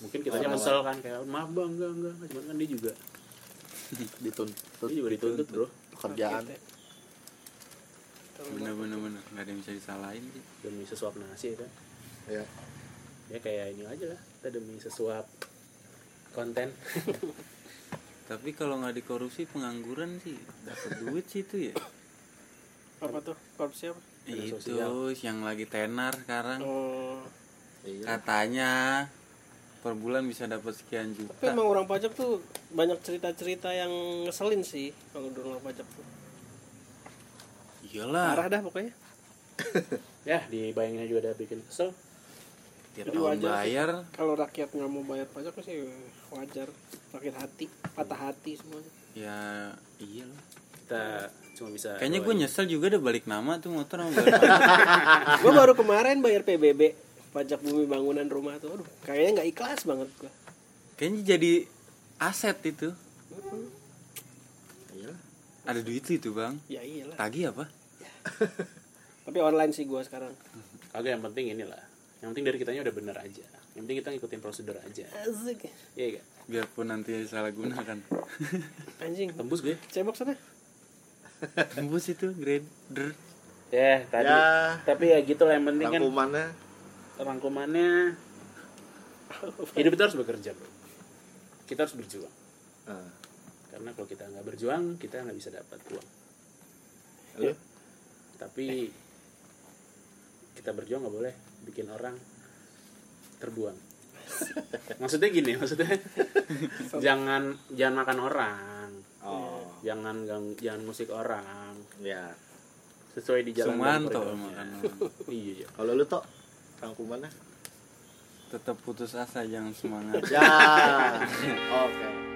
Speaker 1: mungkin kita aja kesel kan kayak maaf bang enggak enggak cuman kan dia juga
Speaker 4: dituntut
Speaker 1: dia juga dituntut bro
Speaker 4: pekerjaan
Speaker 5: bener bener bener nggak ada yang bisa disalahin sih
Speaker 1: demi sesuap nasi kan. itu
Speaker 4: ya
Speaker 1: ya kayak ini aja lah kita demi sesuap konten
Speaker 5: tapi kalau nggak dikorupsi pengangguran sih dapat duit sih itu ya
Speaker 2: apa tuh korupsi apa
Speaker 5: itu
Speaker 1: sosial.
Speaker 5: yang lagi tenar sekarang
Speaker 2: oh
Speaker 4: iya
Speaker 5: katanya per bulan bisa dapat sekian
Speaker 2: tapi
Speaker 5: juta
Speaker 2: emang orang pajak tuh banyak cerita cerita yang ngeselin sih kalau orang pajak tuh
Speaker 5: iyalah
Speaker 2: parah dah pokoknya
Speaker 1: ya dibayangin juga udah bikin kesel
Speaker 5: tiap
Speaker 2: Jadi
Speaker 5: tahun
Speaker 2: wajar sih.
Speaker 5: bayar
Speaker 2: kalau rakyat nggak mau bayar pajak sih wajar rakyat hati patah hati semuanya
Speaker 5: ya iyalah
Speaker 1: kita cuma bisa
Speaker 5: kayaknya gue
Speaker 1: doain.
Speaker 5: nyesel juga deh balik nama tuh motor sama balik
Speaker 2: gue baru kemarin bayar PBB pajak bumi bangunan rumah tuh aduh kayaknya nggak ikhlas banget gue
Speaker 5: kayaknya jadi aset itu ada duit itu bang
Speaker 2: ya iyalah
Speaker 5: tagih apa
Speaker 2: tapi online sih gue sekarang
Speaker 1: kagak yang penting inilah yang penting dari kitanya udah bener aja yang penting kita ngikutin prosedur aja
Speaker 2: Asik.
Speaker 1: iya gak?
Speaker 5: biarpun nanti salah kan. gunakan
Speaker 2: anjing
Speaker 1: tembus gue
Speaker 2: cebok sana
Speaker 5: tembus itu grader
Speaker 1: ya tadi
Speaker 4: ya
Speaker 1: tapi ya gitu lah yang penting kan
Speaker 4: rangkumannya
Speaker 1: rangkumannya hidup itu harus bekerja bro kita harus berjuang
Speaker 4: ah,
Speaker 1: karena kalau kita nggak berjuang kita nggak bisa dapat uang
Speaker 4: Lu?
Speaker 1: tapi kita berjuang nggak boleh bikin orang terbuang maksudnya gini maksudnya jangan jangan makan orang
Speaker 4: oh
Speaker 1: jangan gang- jangan musik orang
Speaker 4: ya
Speaker 1: sesuai di jalan dan
Speaker 5: sumanto
Speaker 1: koridornya.
Speaker 5: makan
Speaker 1: iya iya.
Speaker 4: kalau lu tuh rangkumannya
Speaker 5: tetap putus asa jangan semangat
Speaker 4: ya oke